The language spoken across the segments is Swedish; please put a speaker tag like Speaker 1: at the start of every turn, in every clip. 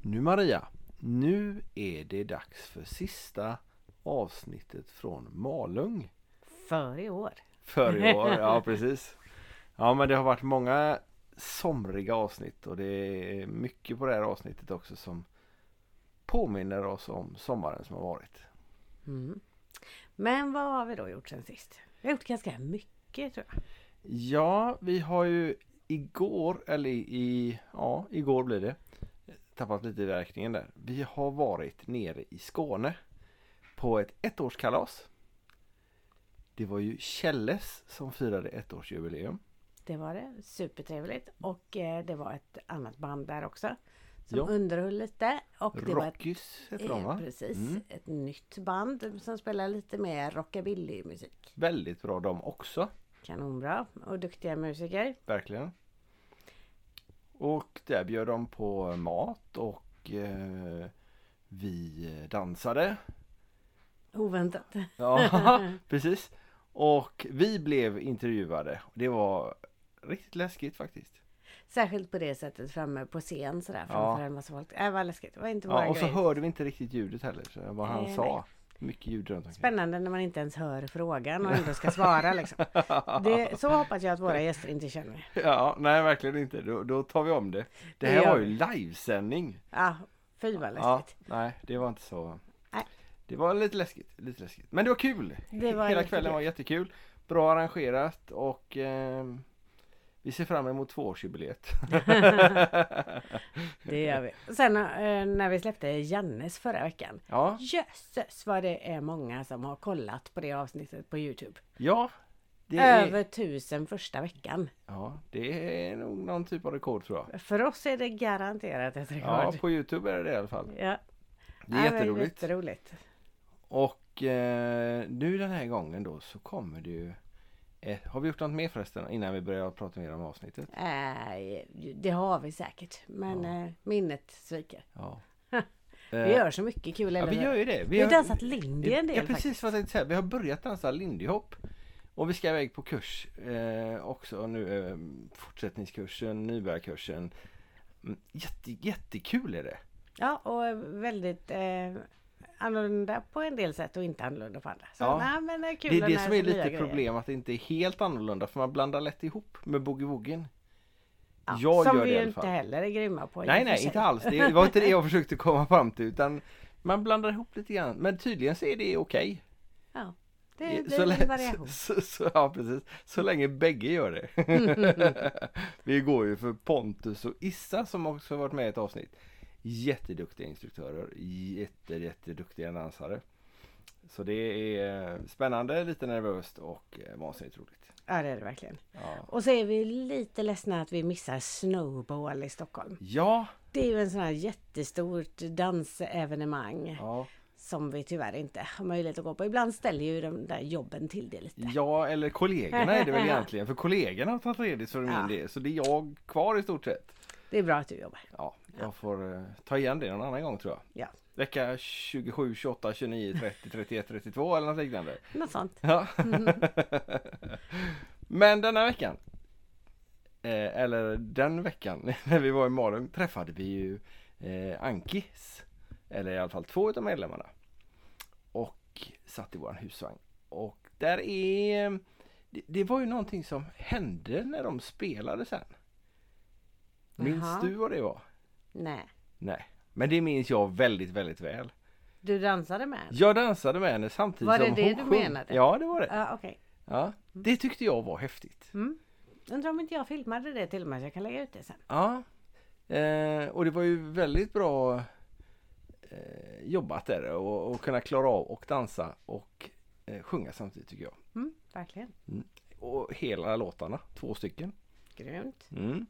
Speaker 1: Nu Maria, nu är det dags för sista avsnittet från Malung
Speaker 2: För i år.
Speaker 1: för i år. Ja, precis. Ja, men det har varit många somriga avsnitt och det är mycket på det här avsnittet också som påminner oss om sommaren som har varit.
Speaker 2: Mm. Men vad har vi då gjort sen sist? Vi har gjort ganska mycket tror jag.
Speaker 1: Ja, vi har ju igår, eller i, ja, igår blir det, tappat lite i räkningen där. Vi har varit nere i Skåne på ett ettårskalas. Det var ju Kjelles som firade ettårsjubileum.
Speaker 2: Det var det. Supertrevligt. Och eh, det var ett annat band där också. Som
Speaker 1: Ja.
Speaker 2: underhöll lite. Och det var ett,
Speaker 1: Rockys heter de va?
Speaker 2: eh, precis,
Speaker 1: Mm.
Speaker 2: ett nytt band som spelar lite mer rockabillymusik.
Speaker 1: Väldigt bra de också,
Speaker 2: Kanonbra och duktiga musiker.
Speaker 1: verkligen. Och där bjöd de på mat och eh, vi dansade.
Speaker 2: Oväntat.
Speaker 1: Ja, precis. Och vi blev intervjuade. Det var riktigt läskigt faktiskt.
Speaker 2: Särskilt på det sättet framme på scen sådär
Speaker 1: Ja.
Speaker 2: framför en massa folk. Det var läskigt. Det var inte våra
Speaker 1: Ja, och så
Speaker 2: grejer.
Speaker 1: hörde vi inte riktigt ljudet heller, så vad han
Speaker 2: Nej,
Speaker 1: sa. Mycket ljud runt omkring.
Speaker 2: Spännande när man inte ens hör frågan och ändå ska svara liksom. Det, så hoppas jag att våra gäster inte känner.
Speaker 1: Ja, nej verkligen inte. Då, då tar vi om det. Det
Speaker 2: Det
Speaker 1: här
Speaker 2: gör
Speaker 1: var ju
Speaker 2: vi.
Speaker 1: livesändning.
Speaker 2: Ja, fy vad
Speaker 1: Ja,
Speaker 2: läskigt.
Speaker 1: nej, det var inte så.
Speaker 2: Nej.
Speaker 1: Det var lite läskigt, lite läskigt. Men det var kul!
Speaker 2: Det var
Speaker 1: Hela
Speaker 2: jättekul.
Speaker 1: kvällen var jättekul. Bra arrangerat och ehm, vi ser fram emot tvåårsjubileet.
Speaker 2: Det gör vi. Sen eh, när vi släppte Jannes förra veckan.
Speaker 1: Ja,
Speaker 2: Jösses vad det är många som har kollat på det avsnittet på Youtube.
Speaker 1: ja. Det
Speaker 2: Över tusen första veckan.
Speaker 1: Ja, det är nog någon typ av rekord tror jag.
Speaker 2: För oss är det garanterat ett
Speaker 1: Ja,
Speaker 2: rekord.
Speaker 1: på Youtube är det det i alla fall.
Speaker 2: Ja.
Speaker 1: Det är
Speaker 2: Ja, men
Speaker 1: jätteroligt.
Speaker 2: jätteroligt.
Speaker 1: Och eh, nu den här gången då så kommer det ju... Eh, har vi gjort något mer förresten innan vi börjar prata mer om avsnittet?
Speaker 2: Eh, det har vi säkert. Men eh, minnet sviker.
Speaker 1: Ja. Eh,
Speaker 2: Vi gör så mycket kul.
Speaker 1: ja,
Speaker 2: eller
Speaker 1: vi
Speaker 2: hur?
Speaker 1: gör ju det.
Speaker 2: Vi har
Speaker 1: gör-
Speaker 2: dansat lindy en del
Speaker 1: Ja, precis
Speaker 2: faktiskt.
Speaker 1: vad jag tänkte säga. Vi har börjat dansa lindyhopp. Och vi ska iväg på kurs eh, också nu. Eh, fortsättningskursen, nybörjarkursen. Mm, Jätte, jättekul är det.
Speaker 2: Ja, och väldigt eh, annorlunda på en del sätt och inte annorlunda på andra. Så
Speaker 1: Ja.
Speaker 2: nej, men det är kul
Speaker 1: Det är
Speaker 2: att
Speaker 1: det
Speaker 2: lära
Speaker 1: som
Speaker 2: sig
Speaker 1: är
Speaker 2: nya
Speaker 1: lite
Speaker 2: grejer.
Speaker 1: problem att det inte är helt annorlunda för man blandar lätt ihop med boogie-woogen.
Speaker 2: Ja,
Speaker 1: Jag
Speaker 2: som
Speaker 1: gör det
Speaker 2: vi
Speaker 1: i
Speaker 2: ju
Speaker 1: alla
Speaker 2: inte
Speaker 1: fall.
Speaker 2: heller är grymma på. i
Speaker 1: Nej
Speaker 2: och för
Speaker 1: nej
Speaker 2: sig.
Speaker 1: inte alls, det var inte det jag försökte komma fram till utan man blandar ihop lite grann men tydligen så är det okej.
Speaker 2: Ja, det
Speaker 1: Så
Speaker 2: blir
Speaker 1: lä-
Speaker 2: en variation.
Speaker 1: Så, så, ja, precis. så länge bägge gör det. Vi går ju för Pontus och Issa som också varit med i ett avsnitt. Jätteduktiga instruktörer, jätte, jätteduktiga dansare. Så det är eh, spännande, lite nervöst och eh, vansinnigt roligt.
Speaker 2: Ja, det är det verkligen.
Speaker 1: Ja.
Speaker 2: Och så är vi lite ledsna att vi missar Snowball i Stockholm.
Speaker 1: Ja,
Speaker 2: Det är ju en sån här jättestort dansevenemang
Speaker 1: ja,
Speaker 2: som vi tyvärr inte har möjlighet att gå på. Ibland ställer ju de där jobben till det lite.
Speaker 1: ja, eller kollegorna är det väl egentligen för kollegorna har tagit ledigt för min
Speaker 2: Ja.
Speaker 1: del så det är jag kvar i stort sett.
Speaker 2: Det är bra att du jobbar.
Speaker 1: Ja, jag får eh, ta igen det någon annan gång tror jag.
Speaker 2: Ja,
Speaker 1: Vecka 27, 28, 29, 30, 31, 32 eller något liknande.
Speaker 2: något sånt.
Speaker 1: Ja. Men denna veckan eh, eller den veckan när vi var i Malung träffade vi ju eh, Ankis eller i alla fall två utav medlemmarna och satt i våran husvagn och där är det, det var ju någonting som hände när de spelade sen. Minns
Speaker 2: Jaha.
Speaker 1: du vad det var?
Speaker 2: Nej.
Speaker 1: Nej, men det minns jag väldigt, väldigt väl.
Speaker 2: Du dansade med?
Speaker 1: Jag dansade med henne samtidigt
Speaker 2: Var det
Speaker 1: som
Speaker 2: det
Speaker 1: hon
Speaker 2: du
Speaker 1: sjöng.
Speaker 2: menade?
Speaker 1: Ja, det var det.
Speaker 2: Ja, okej.
Speaker 1: Ja, det tyckte jag var häftigt.
Speaker 2: Mm. Undrar om inte jag filmade det till och med så jag kan lägga ut det sen.
Speaker 1: Ja, eh, och det var ju väldigt bra eh, jobbat där och, och kunna klara av och dansa och eh, sjunga samtidigt tycker jag.
Speaker 2: Mm, verkligen.
Speaker 1: Och hela låtarna, två stycken.
Speaker 2: Grymt.
Speaker 1: Mm.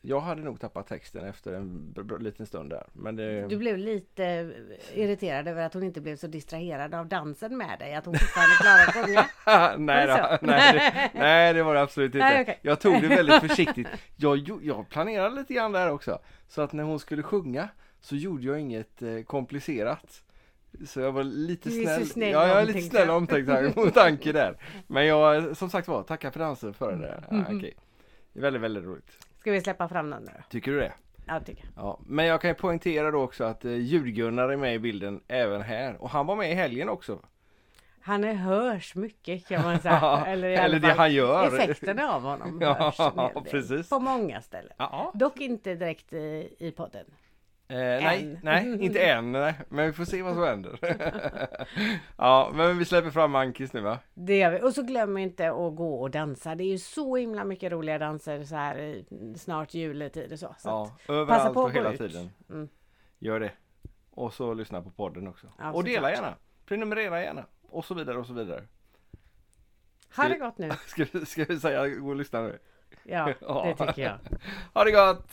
Speaker 1: Jag hade nog tappat texten efter en br- br- liten stund där. Men det...
Speaker 2: Du blev lite eh, irriterad över att hon inte blev så distraherad av dansen med dig, att hon fortfarande klarar att sjunga.
Speaker 1: nej,
Speaker 2: Var det
Speaker 1: då,
Speaker 2: så?
Speaker 1: nej, det, nej det var det absolut inte.
Speaker 2: Nej, okej.
Speaker 1: Jag tog det väldigt försiktigt. Jag, gjo- jag planerade lite grann där också. Så att när hon skulle sjunga så gjorde jag inget eh, komplicerat. Så jag var lite
Speaker 2: Du är så
Speaker 1: snäll.
Speaker 2: snäll
Speaker 1: ja,
Speaker 2: och
Speaker 1: jag är lite
Speaker 2: omtänksam.
Speaker 1: snäll och omtänksam mot Anki där. Men jag, som sagt var,
Speaker 2: Mm.
Speaker 1: tackar för dansen för det. Ja, okej. Det är väldigt, väldigt roligt.
Speaker 2: Ska vi släppa fram någon nu då?
Speaker 1: Tycker du det?
Speaker 2: Ja, det tycker jag.
Speaker 1: Ja, men jag kan ju poängtera då också att eh, Djurgunnar är med i bilden även här. Och han var med i helgen också.
Speaker 2: Han är, hörs mycket kan man säga. Eller, i alla
Speaker 1: Eller det
Speaker 2: fall
Speaker 1: han gör.
Speaker 2: Effekterna av honom
Speaker 1: Ja,
Speaker 2: hörs en hel del.
Speaker 1: precis.
Speaker 2: På många ställen.
Speaker 1: Ja.
Speaker 2: Dock inte direkt i, i podden.
Speaker 1: Eh, nej,
Speaker 2: Än.
Speaker 1: nej, inte än. Nej. Men vi får se vad som händer. ja, men vi släpper fram Ankis nu va?
Speaker 2: Det gör vi. Och så glöm inte att gå och dansa. Det är ju så himla mycket roliga danser så här i snart juletid och så. så
Speaker 1: Ja,
Speaker 2: att,
Speaker 1: överallt
Speaker 2: på
Speaker 1: och
Speaker 2: att
Speaker 1: hela
Speaker 2: gå ut.
Speaker 1: tiden.
Speaker 2: Mm.
Speaker 1: Gör det. Och så lyssna på podden också.
Speaker 2: Ja,
Speaker 1: och dela
Speaker 2: såklart.
Speaker 1: gärna. Prenumerera gärna. Och så vidare och så vidare.
Speaker 2: ha det gott nu.
Speaker 1: Ska, vi- ska vi säga gå och lyssna nu?
Speaker 2: Ja,
Speaker 1: Ja.
Speaker 2: det tycker jag.
Speaker 1: Ha det gott!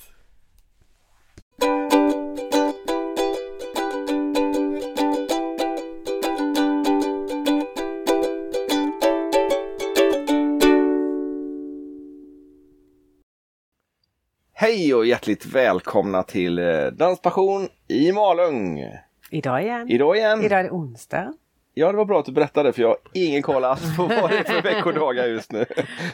Speaker 1: Hej och hjärtligt välkomna till eh, Danspassion i Malung!
Speaker 2: Idag igen.
Speaker 1: Idag igen!
Speaker 2: Idag är det onsdag.
Speaker 1: Ja, det var bra att du berättade för jag har ingen koll alls på vad det är för veckodagar just nu.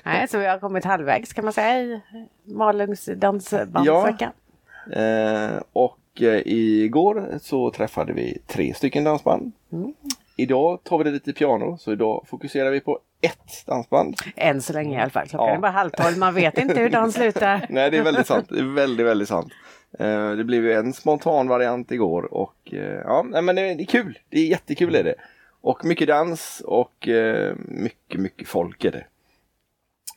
Speaker 2: Nej, så vi har kommit halvvägs kan man säga i Malungs dansbandsvecka.
Speaker 1: Eh, och eh, igår så träffade vi tre stycken dansband. Idag tar vi det lite piano, så idag fokuserar vi på ett dansband.
Speaker 2: Än så länge i alla fall. Klockan
Speaker 1: Ja.
Speaker 2: är bara halv tolv. Man vet inte hur dagen slutar.
Speaker 1: Nej, det är väldigt sant. Det är väldigt, väldigt sant. Eh, det blev ju en spontan variant igår och eh, ja, nej, men det är det är kul. Det är jättekul är det. Och mycket dans och eh, mycket, mycket folk är det.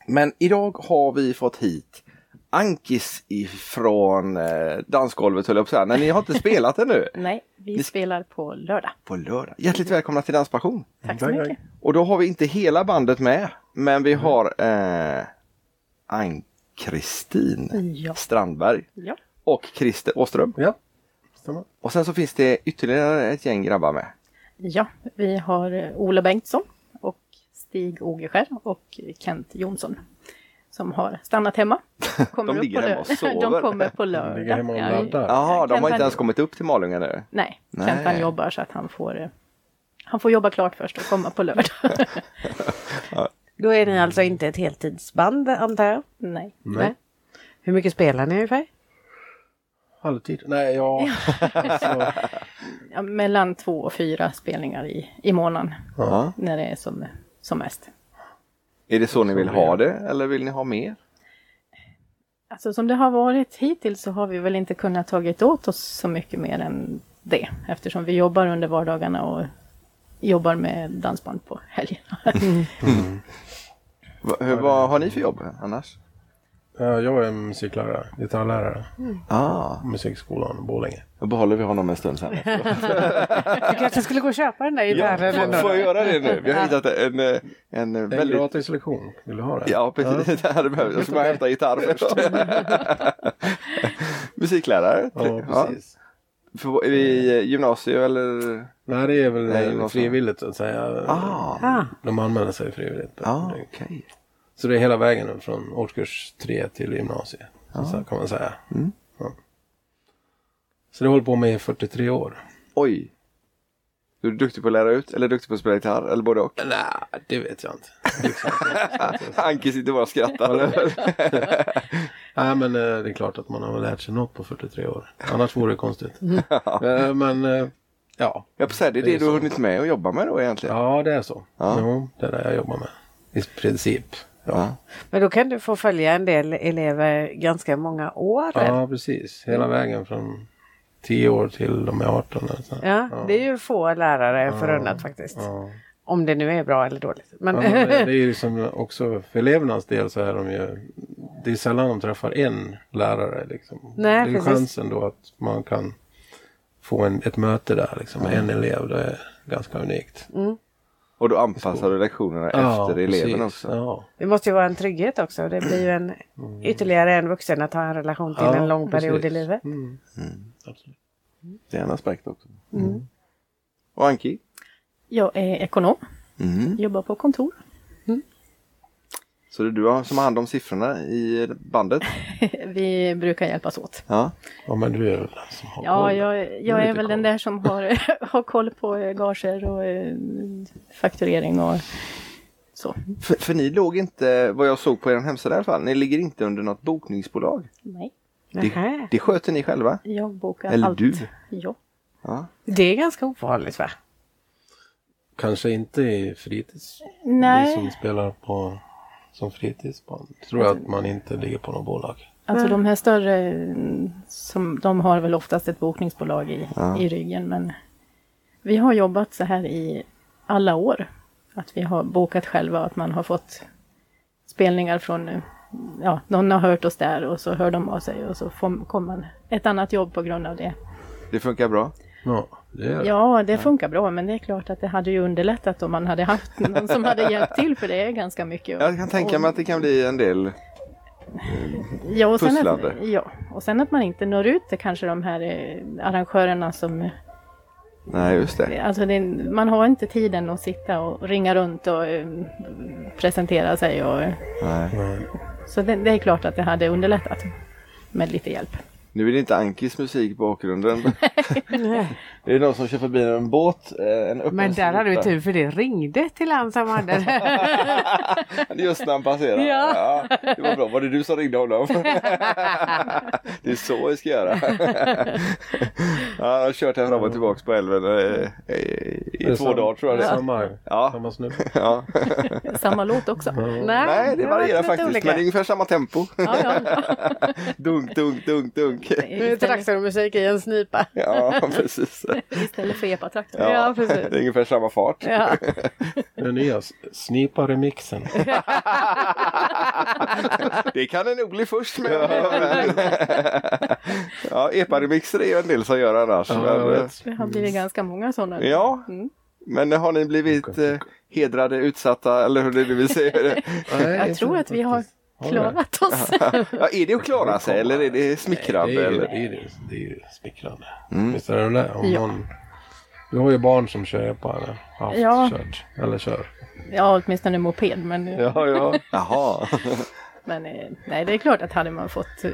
Speaker 1: Men idag har vi fått hit Ankis ifrån eh, dansgolvet höll jag på att säga. Nej, ni har inte spelat ännu.
Speaker 3: Nej, vi spelar på lördag.
Speaker 1: på lördag. Hjärtligt välkomna till Danspassion!
Speaker 3: Tack så mycket.
Speaker 1: Och då har vi inte hela bandet med, men vi har eh, Ann-Kristin
Speaker 3: Ja.
Speaker 1: Strandberg
Speaker 3: ja.
Speaker 1: och Christer Åström.
Speaker 4: Ja, stämmer.
Speaker 1: Och sen så finns det ytterligare ett gäng grabbar med.
Speaker 3: ja, vi har eh, Ola Bengtsson och Stig Ågerskär och Kent Jonsson som har stannat hemma. Kommer
Speaker 1: De
Speaker 3: upp
Speaker 1: ligger
Speaker 3: på
Speaker 1: hemma och
Speaker 3: lör-
Speaker 1: sover.
Speaker 3: De kommer på
Speaker 4: De
Speaker 3: lördag.
Speaker 4: ligger hemma och laddar.
Speaker 1: Jaha, de
Speaker 3: Kent
Speaker 1: har inte
Speaker 3: han-
Speaker 1: ens kommit upp till Malung ännu.
Speaker 3: Nej,
Speaker 1: Nej.
Speaker 3: Kent han jobbar så att han får, eh, han får jobba klart först och komma på lördag.
Speaker 2: Då är ni alltså inte ett heltidsband antar jag?
Speaker 3: Nej.
Speaker 4: Nej.
Speaker 2: Hur mycket spelar ni ungefär?
Speaker 4: Halvtid? Nej, ja. så,
Speaker 3: Ja, mellan två och fyra spelningar i, i månaden
Speaker 1: Ja.
Speaker 3: när det är som, som mest.
Speaker 1: Är det så ni vill ha det eller vill ni ha mer?
Speaker 3: Alltså som det har varit hittills så har vi väl inte kunnat tagit åt oss så mycket mer än det. Eftersom vi jobbar under vardagarna och jobbar med dansband på helgerna.
Speaker 1: Va, hur, vad har ni för jobb annars?
Speaker 4: eh, jag är musiklärare, gitarrlärare
Speaker 1: Ah,
Speaker 4: på musikskolan i Borlänge.
Speaker 1: då behåller vi honom en stund sen.
Speaker 2: Jag kanske skulle gå och köpa den där gitarren
Speaker 1: får,
Speaker 2: ändå.
Speaker 1: får jag göra det nu? Vi har hittat en, eh, en, en
Speaker 4: Det är en
Speaker 1: väldigt
Speaker 4: gratis lektion. Vill du ha det?
Speaker 1: Ja, precis. Det hade behövt. Jag ska bara hämta gitarr först. Musiklärare.
Speaker 4: Ja, precis.
Speaker 1: Ja. För, är vi gymnasium eller?
Speaker 4: Nej, det är väl
Speaker 1: Nej,
Speaker 4: eh,
Speaker 1: det var så.
Speaker 4: frivilligt så att säga.
Speaker 1: Ah,
Speaker 2: Ah,
Speaker 4: De anmäler sig frivilligt.
Speaker 1: ah okej.
Speaker 4: Så det är hela vägen upp från årskurs tre till gymnasiet. Så kan man säga.
Speaker 1: Mm.
Speaker 4: Ja. Så det håller på med i 43 år.
Speaker 1: Oj. Du är duktig på att lära ut eller duktig på att spela gitarr eller både och?
Speaker 4: Nej, det vet jag inte.
Speaker 1: Anki sitter bara och skrattar.
Speaker 4: Nej men eh, det är klart att man har väl lärt sig något på 43 år. Annars vore det konstigt. Eh, men eh, ja.
Speaker 1: Jag på säga, det är det du har hunnit med att jobba med då egentligen?
Speaker 4: ja, det är så.
Speaker 1: Ja.
Speaker 4: Jo, det är det jag jobbar med. I princip. Ja,
Speaker 1: Ja.
Speaker 2: men då kan du få följa en del elever ganska många år. Ja,
Speaker 4: ja precis. Hela vägen från 10 år till de är 18. Eller så.
Speaker 2: det är ju få lärare förunnat faktiskt.
Speaker 4: Ja.
Speaker 2: Om det nu är bra eller dåligt. Men,
Speaker 4: Ja, men eh, det det är ju som också för elevernas del så är de ju Det är sällan de träffar en lärare liksom.
Speaker 2: Nej,
Speaker 4: det är ju
Speaker 2: precis.
Speaker 4: chansen då att man kan få en, ett möte där liksom med en elev. Det är ganska unikt.
Speaker 1: Och då anpassar du lektionerna efter eleven
Speaker 4: precis.
Speaker 1: också?
Speaker 4: Ja.
Speaker 2: det måste ju vara en trygghet också. Det blir ju en,
Speaker 1: Mm.
Speaker 2: ytterligare en vuxen att ha en relation till
Speaker 4: Ja,
Speaker 2: en lång period
Speaker 4: precis.
Speaker 2: i livet.
Speaker 4: Mm.
Speaker 1: Det är en aspekt också. Mm. Och Anki?
Speaker 3: Jag är ekonom,
Speaker 1: Mm.
Speaker 3: jobbar på kontor.
Speaker 1: Så det är du som har hand om siffrorna i bandet?
Speaker 3: Vi brukar hjälpas åt.
Speaker 1: Ja.
Speaker 4: Ja, men du är väl den som har
Speaker 3: Ja,
Speaker 4: koll.
Speaker 3: jag,
Speaker 4: är
Speaker 3: jag är
Speaker 4: lite
Speaker 3: väl
Speaker 4: koll.
Speaker 3: den där som har, har koll på eh, gager och eh, fakturering och så.
Speaker 1: För, för ni låg inte, vad jag såg på er hemsida i alla fall, ni ligger inte under något bokningsbolag.
Speaker 3: Nej.
Speaker 2: Nähä.
Speaker 1: Det, det sköter ni själva?
Speaker 3: Jag bokar
Speaker 1: Eller
Speaker 3: allt.
Speaker 1: du?
Speaker 3: Ja.
Speaker 1: Ja.
Speaker 2: Det är ganska ovanligt va?
Speaker 4: Kanske inte i fritids. Vi
Speaker 3: Nej,
Speaker 4: som spelar på som fritidsband. Tror jag att man inte ligger på något bolag.
Speaker 3: alltså de här större, mm, som, de har väl oftast ett bokningsbolag i, i ryggen. Men vi har jobbat så här i alla år. Att vi har bokat själva och att man har fått spelningar från, eh, ja, någon har hört oss där och så hör de av sig och så får, kommer man ett annat jobb på grund av det.
Speaker 1: Det funkar bra?
Speaker 4: Ja, det är
Speaker 3: Ja, det funkar bra, men det är klart att det hade ju underlättat om man hade haft någon som hade hjälpt till, för det är ganska mycket.
Speaker 1: Jag kan tänka mig att det kan bli en del.
Speaker 3: Ja, och sen att,
Speaker 1: pusslande.
Speaker 3: ja, och sen att man inte når ut till kanske de här eh, arrangörerna som... eh,
Speaker 1: Nej, just det.
Speaker 3: Alltså det, är- man har inte tiden att sitta och ringa runt och eh, presentera sig. Och,
Speaker 1: Nej.
Speaker 3: så det, det är klart att det hade underlättat med lite hjälp.
Speaker 1: Nu är det inte Ankis musik i bakgrunden. det är någon som kör förbi en båt. eh, En öppen
Speaker 2: Men där hade vi
Speaker 1: snuta.
Speaker 2: tur för det ringde till han som hade det.
Speaker 1: Just när han passerade.
Speaker 2: Ja.
Speaker 1: Ja, det var bra. Var det du som ringde honom? det är så vi ska göra. ja, han har kört här fram och tillbaka på älven eh, eh, i, i två dagar tror jag.
Speaker 4: det
Speaker 1: det
Speaker 4: är.
Speaker 1: är.
Speaker 4: Samma,
Speaker 1: Ja.
Speaker 4: samma snubbe.
Speaker 1: Ja.
Speaker 3: Samma låt också.
Speaker 1: Nej, det
Speaker 2: var
Speaker 1: varierar
Speaker 2: lite
Speaker 1: faktiskt.
Speaker 2: olika.
Speaker 1: Men det är ungefär samma tempo.
Speaker 3: Ja, ja.
Speaker 1: dunk, dunk, dunk, dunk.
Speaker 2: Nu är
Speaker 3: Istället,
Speaker 2: traktormusik i en snipa.
Speaker 1: Ja, precis.
Speaker 3: istället för epatraktor.
Speaker 1: Ja,
Speaker 2: Ja, precis.
Speaker 1: Det är ungefär samma fart.
Speaker 2: Ja.
Speaker 4: Den nya s- snipa-remixen.
Speaker 1: Det kan det nog bli först med. ja, epa-remixer är ju en del som gör annars.
Speaker 4: Ja, jag
Speaker 1: men, eh,
Speaker 4: vet.
Speaker 3: Det har blivit ganska många sådana.
Speaker 1: ja.
Speaker 3: Mm.
Speaker 1: men har ni blivit eh, hedrade, utsatta eller hur det nu vill säga?
Speaker 4: Nej,
Speaker 3: Jag
Speaker 4: inte
Speaker 3: tror att vi har
Speaker 4: faktiskt. Har vi det?
Speaker 3: klarat oss.
Speaker 1: Ja, är det att klara sig eller är det smickrande?
Speaker 4: Nej, Det är ju, det
Speaker 1: eller? Mm.
Speaker 4: är ju, det är ju smickrande. Visst är det det? Om någon, du har ju barn som kör på eller haft
Speaker 3: Ja.
Speaker 4: kört. Eller kör.
Speaker 3: Ja, åtminstone moped. Men,
Speaker 4: Ja, ja.
Speaker 1: Jaha,
Speaker 3: men eh, nej, det är klart att hade man fått eh,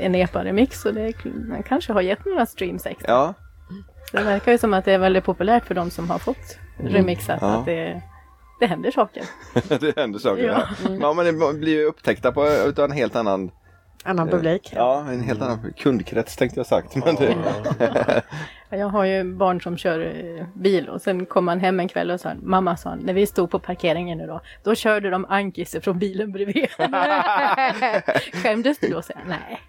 Speaker 3: en epa-remix så det är, kl- man kanske har gett några streams extra.
Speaker 1: ja. Mm.
Speaker 3: Det verkar ju som att det är väldigt populärt för de som har fått remixat.
Speaker 1: Ja.
Speaker 3: Att det, det händer saker.
Speaker 1: det händer saker. Ja. Ja, men det blir ju upptäckta på, utav en helt annan
Speaker 2: Annan publik.
Speaker 1: Ja, en helt annan kundkrets tänkte jag sagt. Men det,
Speaker 3: Jag har ju barn som kör eh, bil och sen kom han hem en kväll och sa Mamma sa han, när vi stod på parkeringen idag Då körde de Ankis från bilen bredvid Skämdes du då? säger han, nej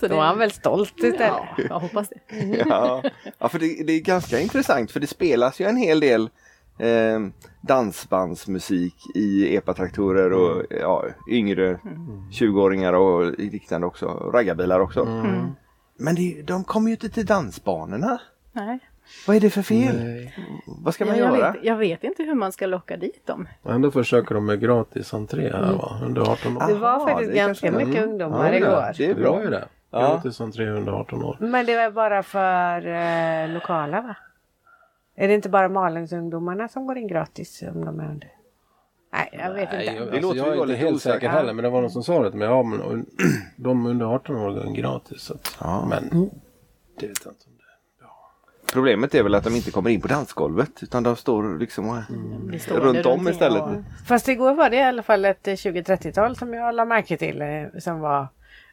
Speaker 3: Så
Speaker 2: Då var han väl stolt istället.
Speaker 3: Ja, jag hoppas det
Speaker 1: ja. ja, för det, det är ganska intressant för det spelas ju en hel del eh, dansbandsmusik i epatraktorer och ja, yngre 20-åringar och liknande också. Raggarbilar också. Men det, de kommer ju inte till dansbanorna.
Speaker 3: Nej,
Speaker 1: Vad är det för fel?
Speaker 4: Nej.
Speaker 1: Vad ska man
Speaker 3: jag
Speaker 1: göra?
Speaker 3: vet, jag vet inte hur man ska locka dit dem
Speaker 4: Ändå försöker de med gratis entré här va? Under 18 år.
Speaker 2: Det var
Speaker 1: Jaha,
Speaker 2: faktiskt
Speaker 1: det kanske-
Speaker 2: ganska mycket
Speaker 1: Mm.
Speaker 2: ungdomar
Speaker 1: Ja,
Speaker 2: igår.
Speaker 1: Det är
Speaker 4: Ah, Det
Speaker 1: bra.
Speaker 4: var ju det.
Speaker 1: Ja.
Speaker 4: Gratis entré under 18 år.
Speaker 2: Men det var bara för eh, lokala va? Är det inte bara Malungsungdomarna som går in gratis om de är under? Nej, jag vet
Speaker 4: Nej,
Speaker 2: inte.
Speaker 4: jag,
Speaker 1: Det
Speaker 4: alltså,
Speaker 1: låter
Speaker 4: jag
Speaker 1: ju
Speaker 4: är inte
Speaker 1: lite
Speaker 4: helt
Speaker 1: osäkert.
Speaker 4: säker heller men det var någon som sa det till mig. Ja, men, och, de under 18 år går in gratis. Så att,
Speaker 1: Ja.
Speaker 4: Men det vet jag inte om det
Speaker 1: Problemet är väl att de inte kommer in på dansgolvet utan de står liksom och-
Speaker 3: Vi står
Speaker 1: runt om
Speaker 3: omkring
Speaker 1: istället.
Speaker 3: och-
Speaker 2: Fast igår var det i alla fall ett eh, 20-30-tal som jag la märke till eh, som var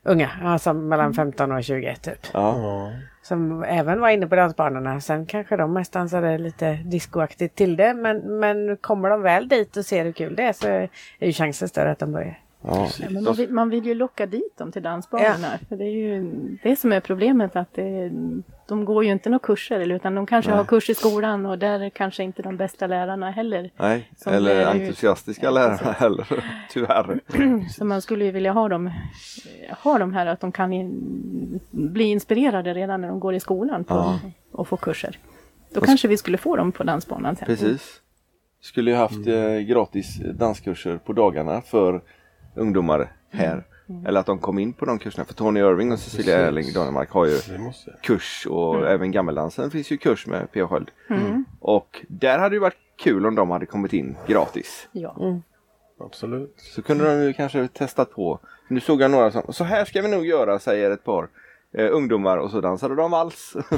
Speaker 2: unga, alltså mellan
Speaker 4: Mm.
Speaker 2: 15 och 21 typ.
Speaker 1: Ja.
Speaker 2: Som även var inne på dansbanorna. Sen kanske de mest dansade lite discoaktigt till det. Men, men kommer de väl dit och ser hur kul det är så är ju chansen större att de börjar.
Speaker 1: Ja.
Speaker 3: Ja, men man, vill, man vill ju locka dit dem till dansbanorna. För det är ju det som är problemet. att det, De går ju inte några kurser eller, utan de kanske har kurs i skolan och där är kanske inte de bästa lärarna heller.
Speaker 1: Nej,
Speaker 3: Som
Speaker 1: eller
Speaker 3: är ju-
Speaker 1: entusiastiska lärare heller. Tyvärr.
Speaker 3: Så man skulle ju vilja ha dem, ha dem här att de kan in, bli inspirerade redan när de går i skolan på,
Speaker 1: Ja.
Speaker 3: och få kurser. Då kanske vi skulle få dem på dansbanan sen.
Speaker 1: Precis. Skulle ju haft
Speaker 4: Mm.
Speaker 1: eh, gratis danskurser på dagarna för ungdomar här.
Speaker 3: Mm.
Speaker 1: Eller att de kom in på de kurserna. För Tony Irving och Cecilia
Speaker 4: Precis.
Speaker 1: Erling i Danmark har ju
Speaker 4: Det måste jag.
Speaker 1: kurs och
Speaker 3: Mm.
Speaker 1: även gammeldansen finns ju kurs med Pia Sköld.
Speaker 4: Mm.
Speaker 1: Och där hade det varit kul om de hade kommit in gratis.
Speaker 3: Ja.
Speaker 4: Absolut.
Speaker 1: Så kunde de ju kanske testat på. Nu såg jag några som, så här ska vi nog göra säger ett par eh, ungdomar och så dansade de alls.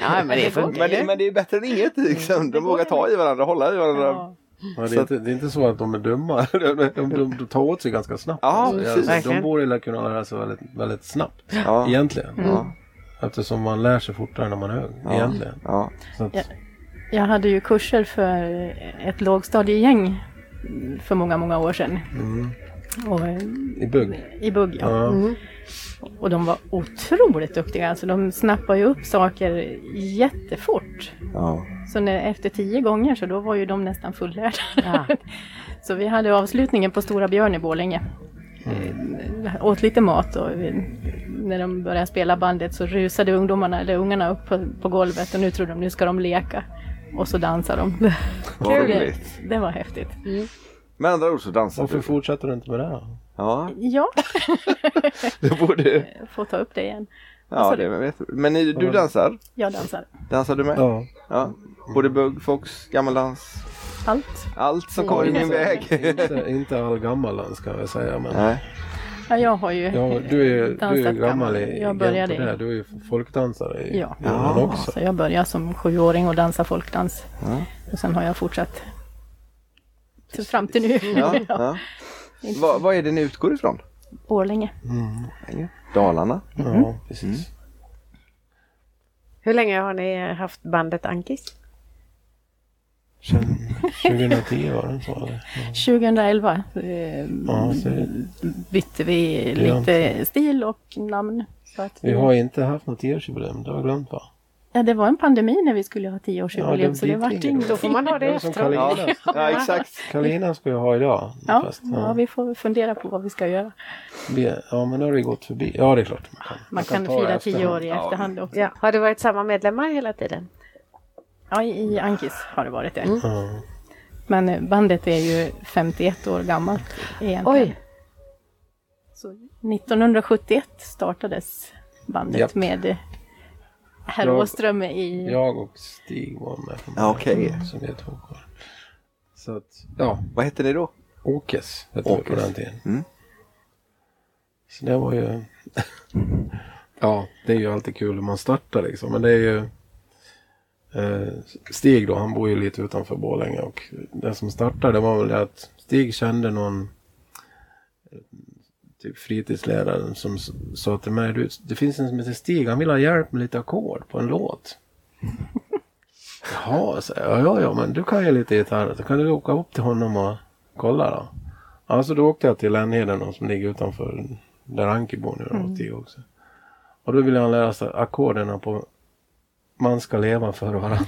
Speaker 2: Ja, men det
Speaker 1: Men det, men det är bättre än inget liksom. De vågar ta i varandra, hålla i varandra.
Speaker 3: Ja.
Speaker 4: Ja, det,
Speaker 1: Så
Speaker 4: är
Speaker 1: att-
Speaker 4: inte, det är inte så att de är dumma. De, de, de, de tar åt sig ganska snabbt.
Speaker 1: Ja,
Speaker 4: alltså.
Speaker 1: precis.
Speaker 4: de
Speaker 2: Verkligen.
Speaker 4: borde lära kunna lära sig väldigt, väldigt snabbt.
Speaker 1: Ja.
Speaker 4: Egentligen.
Speaker 1: Ja.
Speaker 4: Eftersom man lär sig fortare när man är ung.
Speaker 1: Ja.
Speaker 4: Egentligen.
Speaker 1: Ja.
Speaker 4: Så att,
Speaker 3: Ja. Jag hade ju kurser för ett lågstadiegäng för många, många år sedan. Och, eh,
Speaker 4: I bugg.
Speaker 3: I bugg, ja.
Speaker 4: Ja.
Speaker 3: Och de var otroligt duktiga. Alltså, de snappade ju upp saker jättefort.
Speaker 1: Ja.
Speaker 3: Så när, efter tio gånger så då var ju de nästan fullärda.
Speaker 2: Ja.
Speaker 3: så vi hade avslutningen på Stora Björn i Borlänge. Eh, Åt lite mat och vi, när de började spela bandet så rusade ungdomarna, eller ungarna upp på, på golvet och nu trodde de nu ska de leka. Och så dansade de.
Speaker 1: Vad
Speaker 3: det,
Speaker 1: roligt.
Speaker 3: det var häftigt.
Speaker 1: Med andra ord så dansar
Speaker 4: Varför
Speaker 1: du.
Speaker 4: fortsätter du inte med det? här?
Speaker 1: Ja,
Speaker 3: Ja,
Speaker 1: det borde...
Speaker 3: får ta upp det igen.
Speaker 1: Ja,
Speaker 3: sa
Speaker 1: det
Speaker 3: du?
Speaker 1: vet Eh, du. Men ni- du dansar?
Speaker 3: Jag dansar
Speaker 1: Dansar du med?
Speaker 4: Ja.
Speaker 1: Ja. Både bugg, fox, gammaldans.
Speaker 3: allt.
Speaker 1: Allt som kommer i min väg.
Speaker 4: Inte, inte all gammal dans kan jag säga. Men,
Speaker 1: Nej.
Speaker 3: Ja, jag har ju
Speaker 4: ja, du är ju du är
Speaker 3: dansat
Speaker 4: ju gammal i
Speaker 3: Jag började
Speaker 4: i det här. Du är ju folkdansare i
Speaker 3: Ja. Ah.
Speaker 4: Göran också.
Speaker 3: Så jag började som sjuåring och dansa folkdans.
Speaker 1: Ja.
Speaker 3: Och sen har jag fortsatt till- fram till nu.
Speaker 1: Ja, ja. Vad, vad är det ni utgår ifrån?
Speaker 3: Borlänge.
Speaker 1: Dalarna?
Speaker 4: Ja,
Speaker 3: Mm.
Speaker 4: precis.
Speaker 2: Hur länge har ni haft bandet Ankis?
Speaker 4: Sen 2010 var det så? eller?
Speaker 3: 2011 eh,
Speaker 4: Ja, så
Speaker 3: bytte vi
Speaker 4: Grönt.
Speaker 3: lite stil och namn. Så att
Speaker 4: vi
Speaker 3: vi,
Speaker 4: har inte haft något tioårsjubileum. Det har jag glömt va?
Speaker 3: ja, det var en pandemi när vi skulle ha tioårsjubileum
Speaker 4: Ja, det-
Speaker 3: så det
Speaker 4: dit
Speaker 3: vart
Speaker 4: ligger det.
Speaker 3: inte.
Speaker 2: Då får man ha det
Speaker 4: Det är som
Speaker 2: efteråt.
Speaker 4: Karolina.
Speaker 1: Ja, ja exakt.
Speaker 4: Karolina ska jag ha idag.
Speaker 3: Ja,
Speaker 4: Fast,
Speaker 3: ja, vi får fundera på vad vi ska göra.
Speaker 4: Vi- ja, men då har det gått förbi. Ja, det är klart. Man kan,
Speaker 3: Man kan
Speaker 4: ta det
Speaker 3: fira
Speaker 4: efterhand.
Speaker 3: tio år i
Speaker 1: Ja.
Speaker 3: efterhand också.
Speaker 2: Ja. Har det varit samma medlemmar hela tiden?
Speaker 3: Ja, i i Ankis har det varit det.
Speaker 4: Ja.
Speaker 3: Men eh, bandet är ju 51 år gammalt egentligen.
Speaker 2: Oj!
Speaker 3: Så 1971 startades bandet
Speaker 4: Japp.
Speaker 3: med eh, herr
Speaker 4: Jag-
Speaker 3: Åström i...
Speaker 4: Jag och Stig var med. från
Speaker 1: Ja, okej.
Speaker 4: början, Så vi är två kvar. Så att, ja,
Speaker 1: Vad hette ni då?
Speaker 4: Åkes hette vi på
Speaker 1: Åkes.
Speaker 4: den tiden.
Speaker 1: Mm.
Speaker 4: Så det var ju... ja, det är ju alltid kul hur man startar liksom. Men det är ju... Eh, Stig då, han bor ju lite utanför Borlänge och det som startade det var väl det att Stig kände någon eh, typ fritidsläraren som s- sa till mig, du, det finns en som heter Stig, han vill ha hjälp med lite ackord på en låt. Jaha, så, ja, ja, ja, men du kan ju lite gitarr. Så kan du åka upp till honom och kolla då. Alltså då åkte jag till Lännheden då, som ligger utanför där Anki bor nu då, mm. också. Och då ville han lära sig ackorderna på Man ska leva för varandra.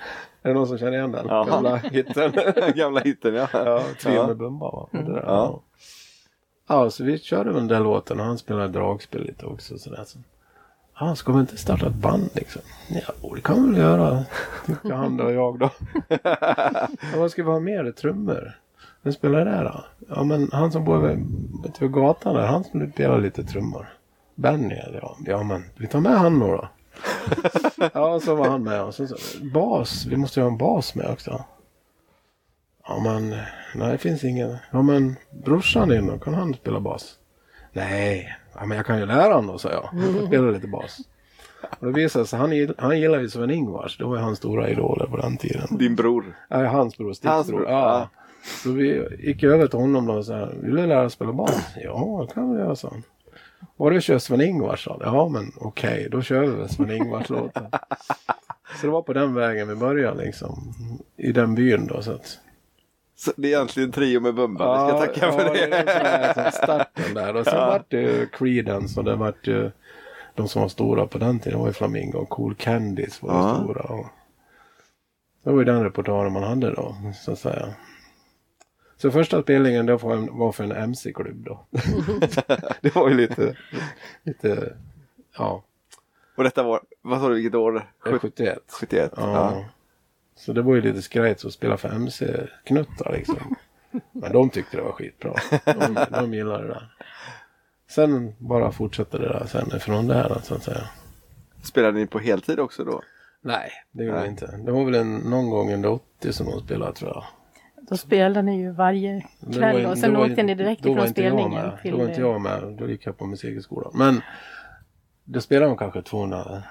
Speaker 4: är det någon som känner igen den?
Speaker 1: Ja.
Speaker 4: Gamla hitten.
Speaker 1: Gamla hitten ja.
Speaker 4: ja, tre med Bumba va? Det där,
Speaker 1: Ja.
Speaker 4: ja, så vi körde väl den där låten och han spelade dragspel lite också. Sådär. Så, ah, ska vi inte starta ett band liksom? Ja, jo, det kan vi väl göra. Tyckte han då och jag då. ja, vad ska vi ha mer? Trummor? Vem spelar det här då? Ja, men han som bor vid, vet du, vid gatan där, han som spelar lite trummor. Benny, ja. Ja, men vi tar med han då. då. ja, så var han med. Och så, så, bas, vi måste ju ha en bas med också. Ja men, nej det finns ingen. Ja men brorsan din då, kan han spela bas? Nej, ja, men jag kan ju lära honom då, sa jag. Spela lite bas. Och det visade sig, han, gill- han gillar ju Sven-Ingvars. Det var ju hans stora idoler på den tiden.
Speaker 1: Din bror.
Speaker 4: Nej, hans bror, Sticks
Speaker 1: Hans
Speaker 4: bror.
Speaker 1: bror, ja.
Speaker 4: Ja. Så vi gick över till honom då och sa, vill du lära dig spela bas? Ja, det kan vi göra, sa han. Och du kör Sven-Ingvars, sa han. Ja, men okej, då kör vi väl Sven-Ingvars-låten. så det var på den vägen vi började liksom. I den byn då. Så att,
Speaker 1: Så det är egentligen trio med Bumba. Vi ska tacka
Speaker 4: ja,
Speaker 1: för
Speaker 4: det.
Speaker 1: det.
Speaker 4: är den som är som starten där. Och sen vart det ju Creedence och det vart ju de som var stora på den tiden. Det var ju Flamingo och Cool Candies var ju
Speaker 1: Ja.
Speaker 4: stora. Och det var ju den repertoaren man hade då, så att säga. Så första spelningen då var en- var för en MC-klubb då. det var ju lite, lite, ja,
Speaker 1: Och detta var, vad sa du, vilket år?
Speaker 4: 71.
Speaker 1: 71.
Speaker 4: Ja.
Speaker 1: Ja.
Speaker 4: Så det var ju lite skrajt att spela för MC-knuttar liksom. Men de tyckte det var skitbra. De, de gillade det där. Sen bara fortsatte det där sen från det här så att säga.
Speaker 1: Spelade ni på heltid också då?
Speaker 4: Nej, det gjorde
Speaker 1: Nej.
Speaker 4: vi inte. Det var väl en, någon gång under 80 som de spelade tror jag.
Speaker 3: Då spelade ni ju varje
Speaker 4: Men det var
Speaker 3: kväll
Speaker 4: ju-
Speaker 3: och
Speaker 4: det
Speaker 3: sen
Speaker 4: var ju-
Speaker 3: åkte ni direkt
Speaker 4: då var
Speaker 3: ifrån
Speaker 4: inte jag
Speaker 3: spelningen
Speaker 4: med.
Speaker 3: till...
Speaker 4: Då var inte jag med. Då gick jag på musikskolan. Men då spelade de kanske 200,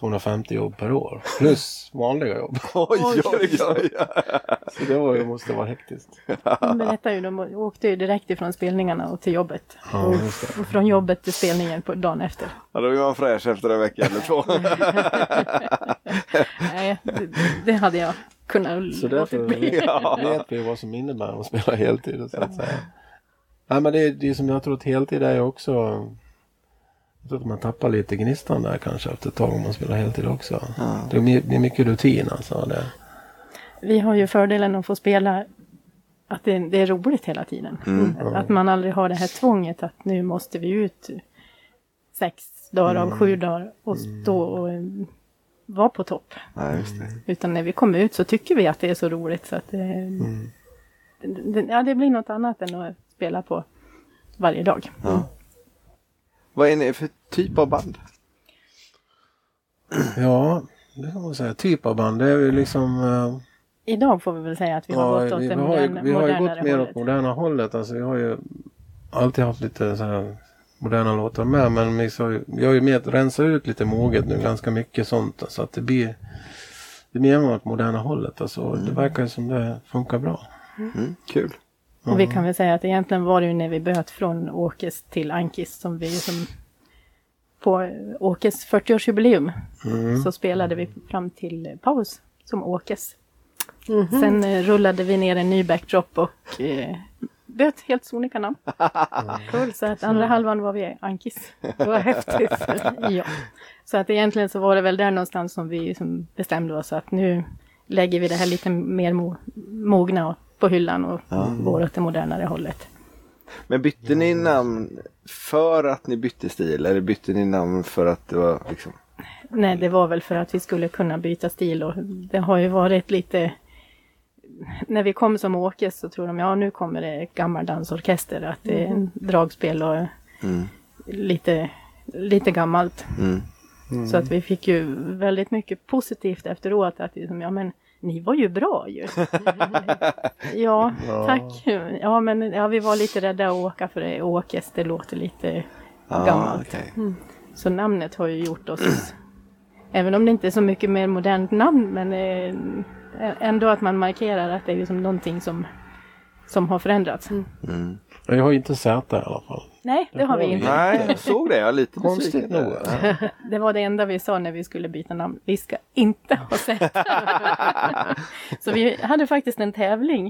Speaker 4: 250 jobb per år. Plus vanliga jobb.
Speaker 1: Oj, oj, oj, oj.
Speaker 4: Så det var ju, måste vara hektiskt.
Speaker 3: eh, De berättar ju, de åkte ju direkt ifrån spelningarna och till jobbet.
Speaker 4: Ja, just det.
Speaker 3: Och från jobbet till spelningen på dagen efter.
Speaker 1: Ja, då är man fräsch efter en vecka eller två.
Speaker 3: Nej, det, det hade jag kunnat
Speaker 4: Så
Speaker 3: låta
Speaker 4: därför
Speaker 3: bli.
Speaker 4: vet vi vad som innebär att spela heltid. och Så att säga. Nej, men det är det är som jag tror att heltid är ju också... Jag tror att man tappar lite gnistan där kanske efter ett tag om man spelar heltid också. Det blir det är mycket rutin alltså. Det.
Speaker 3: Vi har ju fördelen att få spela att det, det är roligt hela tiden.
Speaker 4: Mm.
Speaker 3: Att, att man aldrig har det här tvånget att nu måste vi ut sex dagar
Speaker 4: Mm.
Speaker 3: av sju dagar och stå och eh, vara på topp.
Speaker 1: Nej, just det.
Speaker 3: Utan när vi kommer ut så tycker vi att det är så roligt så att det,
Speaker 4: Mm.
Speaker 3: det, det, ja, det blir något annat än att spela på varje dag.
Speaker 1: Vad är ni för typ av band?
Speaker 4: Ja, det kan man säga. Typ av band. Det är ju liksom... eh,
Speaker 3: Idag får vi väl säga att vi har gått åt
Speaker 4: vi,
Speaker 3: det
Speaker 4: har ju,
Speaker 3: moderna-
Speaker 4: vi har ju
Speaker 3: modernare
Speaker 4: gått mer
Speaker 3: hållet.
Speaker 4: åt moderna hållet. Alltså, vi har ju alltid haft lite så här moderna låtar med. Men vi har ju, vi har ju mer rensat ut lite moget nu. Ganska mycket sånt. Så att det blir, det blir mer åt moderna hållet. Alltså,
Speaker 3: Mm.
Speaker 4: Det verkar ju som det funkar bra.
Speaker 1: Mm, kul.
Speaker 3: Och vi kan väl säga att egentligen var det ju när vi böt från Åkes till Ankis som vi som på Åkes 40-årsjubileum så spelade vi fram till paus som Åkes. Sen eh, rullade vi ner en ny backdrop och eh, böt helt sonika namn. Cool, så att andra halvan var vi Ankis.
Speaker 2: Det var häftigt.
Speaker 3: ja. Så att egentligen så var det väl där någonstans som vi som bestämde oss att nu lägger vi det här lite mer mo- mogna på hyllan och går åt det modernare hållet.
Speaker 1: Men bytte ni namn för att ni bytte stil eller bytte ni namn för att det var liksom...
Speaker 3: Nej, det var väl för att vi skulle kunna byta stil och det har ju varit lite... När vi kom som Åkes så tror de, ja nu kommer det gammal dansorkester, att det är en dragspel och lite, lite gammalt.
Speaker 1: Mm.
Speaker 3: Så att vi fick ju väldigt mycket positivt efteråt, att liksom, ja men ni var ju bra ju. ja, tack. Ja, men ja, vi var lite rädda att åka för det är Åkes, det låter lite gammalt.
Speaker 1: Ah, okej.
Speaker 3: Så namnet har ju gjort oss, även om det inte är så mycket mer modernt namn, men eh, ändå att man markerar att det är liksom någonting som, som har förändrats.
Speaker 4: Jag har ju inte Z i alla fall.
Speaker 3: Mm. Nej, det har vi inte.
Speaker 1: Nej, jag såg det. Jag är lite
Speaker 4: Konstigt
Speaker 1: besviken
Speaker 4: nog.
Speaker 1: där.
Speaker 3: Det var det enda vi sa när vi skulle byta namn. Vi ska inte ha sett. så vi hade faktiskt en tävling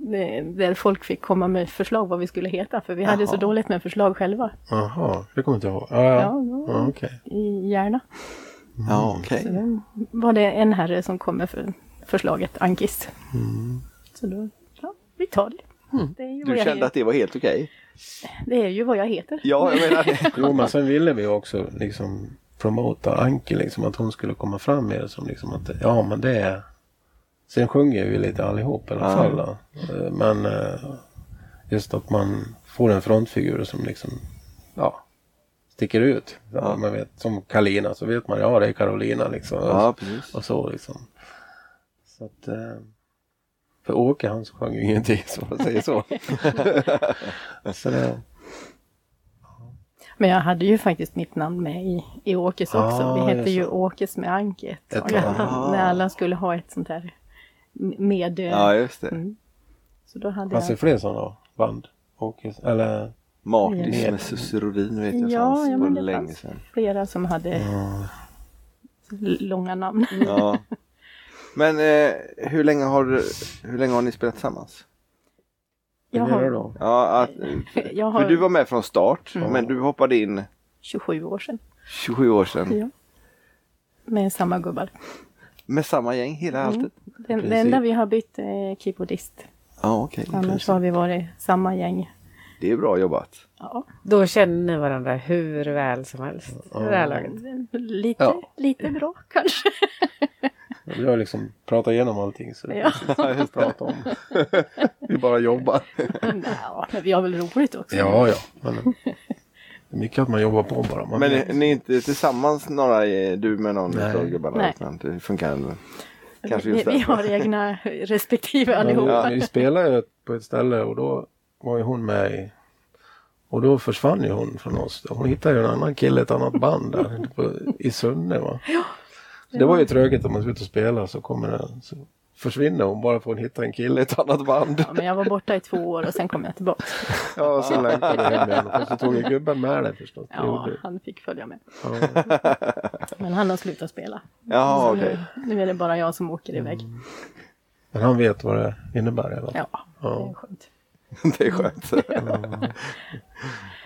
Speaker 3: eh, där folk fick komma med förslag vad vi skulle heta, för vi hade så dåligt med förslag själva
Speaker 4: Jaha, det kommer inte jag ihåg. Ja, ja.
Speaker 3: Ja, ja.
Speaker 4: ja, okej.
Speaker 3: i Järna.
Speaker 1: Ja, okej.
Speaker 3: var det en herre som kom med för förslaget Ankis.
Speaker 4: Mm.
Speaker 3: Så då, ja, vi tar det. Det, är ju vad
Speaker 1: Du
Speaker 3: jag
Speaker 1: kände
Speaker 3: heter.
Speaker 1: att det var helt okej?
Speaker 3: det är ju vad jag heter.
Speaker 1: Ja, jag menar det.
Speaker 4: Jo, men sen ville vi också liksom promota Anki, liksom att hon skulle komma fram med det som liksom att ja, men det är... Sen sjunger vi lite allihop i alla fall. Då. Eh, Men eh, just att man får en frontfigur som liksom, ja, sticker ut. Ja, man vet, som Kalina så vet man, ja det är Carolina liksom.
Speaker 1: Ja, precis.
Speaker 4: Och så liksom. Så att, eh, för Åke han sjöng ju ingenting, så man säger så. så det,
Speaker 3: Men jag hade ju faktiskt mitt namn med i, i Åkes också.
Speaker 4: Ah,
Speaker 3: vi
Speaker 4: just
Speaker 3: hette
Speaker 4: det.
Speaker 3: ju Åkes med Anki ett
Speaker 4: Ett
Speaker 3: tag.
Speaker 4: tag.
Speaker 3: När alla skulle ha ett sånt här m- med...
Speaker 1: Ah. Ja, just det.
Speaker 3: Mm. Så då hade
Speaker 4: Fanns det
Speaker 3: jag...
Speaker 4: fler sådana band? Åkes, eller?
Speaker 1: Makis med Susie Rodin vet jag
Speaker 3: Ja,
Speaker 1: fanns
Speaker 3: ja,
Speaker 1: för
Speaker 3: men det
Speaker 1: länge
Speaker 3: fanns.
Speaker 1: sedan.
Speaker 3: Flera som hade l- långa namn.
Speaker 1: Ja. Men eh, hur, länge har, hur länge har ni spelat tillsammans?
Speaker 3: Jag
Speaker 4: Flera
Speaker 3: har,
Speaker 4: då?
Speaker 1: Ja, att,
Speaker 3: jag
Speaker 1: för du var
Speaker 3: har Mm.
Speaker 1: med från start, men du hoppade in
Speaker 3: 27 år sedan
Speaker 1: 27 år sedan
Speaker 3: Ja. med samma gubbar.
Speaker 1: med samma gäng
Speaker 3: Mm.
Speaker 1: hela alltet.
Speaker 3: Den, det enda vi har bytt är keyboardist.
Speaker 1: Ja, okej.
Speaker 3: Annars har vi varit samma gäng.
Speaker 1: Det är bra jobbat.
Speaker 3: Ja,
Speaker 2: Då känner ni varandra hur väl som helst. i Det här laget.
Speaker 3: lite,
Speaker 4: Ja.
Speaker 3: lite bra kanske.
Speaker 4: Vi har liksom pratat igenom allting så det
Speaker 3: Ja.
Speaker 4: finns inte mycket att prata om. Vi bara jobbar.
Speaker 3: ja, men vi har väl roligt också.
Speaker 4: Ja, ja. Men, det är mycket att man jobbar på bara. Man
Speaker 1: Men ni, ni är inte tillsammans några, eh, du med någon
Speaker 4: Nej.
Speaker 1: utav gubbarna?
Speaker 3: Nej.
Speaker 1: Utan det funkar ändå. kanske
Speaker 3: vi,
Speaker 1: just
Speaker 3: vi
Speaker 1: därför.
Speaker 3: har egna respektive
Speaker 4: Men
Speaker 3: allihopa.
Speaker 4: vi, vi spelade ju på ett ställe och då var ju hon med i Och då försvann ju hon från oss. Hon hittade ju en annan kille, ett annat band där på, i Sunne. Va? Så det var ju trögt om man ska ut och spela så kommer den. Så försvinner hon bara för att hon hittar en kille i ett annat band.
Speaker 3: Ja, men jag var borta i två år och sen kom jag tillbaka.
Speaker 4: Ja, och så längtade jag hem igen. Och så tog ju gubben med det förstås. Det
Speaker 3: Ja,
Speaker 4: gjorde ju.
Speaker 3: han fick följa med.
Speaker 4: Ja.
Speaker 3: Men han har slutat spela.
Speaker 1: Ja,
Speaker 3: Så
Speaker 1: okej.
Speaker 3: nu, nu är det bara jag som åker iväg.
Speaker 4: Men han vet vad det innebär i alla fall.
Speaker 3: Ja, det är skönt.
Speaker 1: Det är skönt. Mm.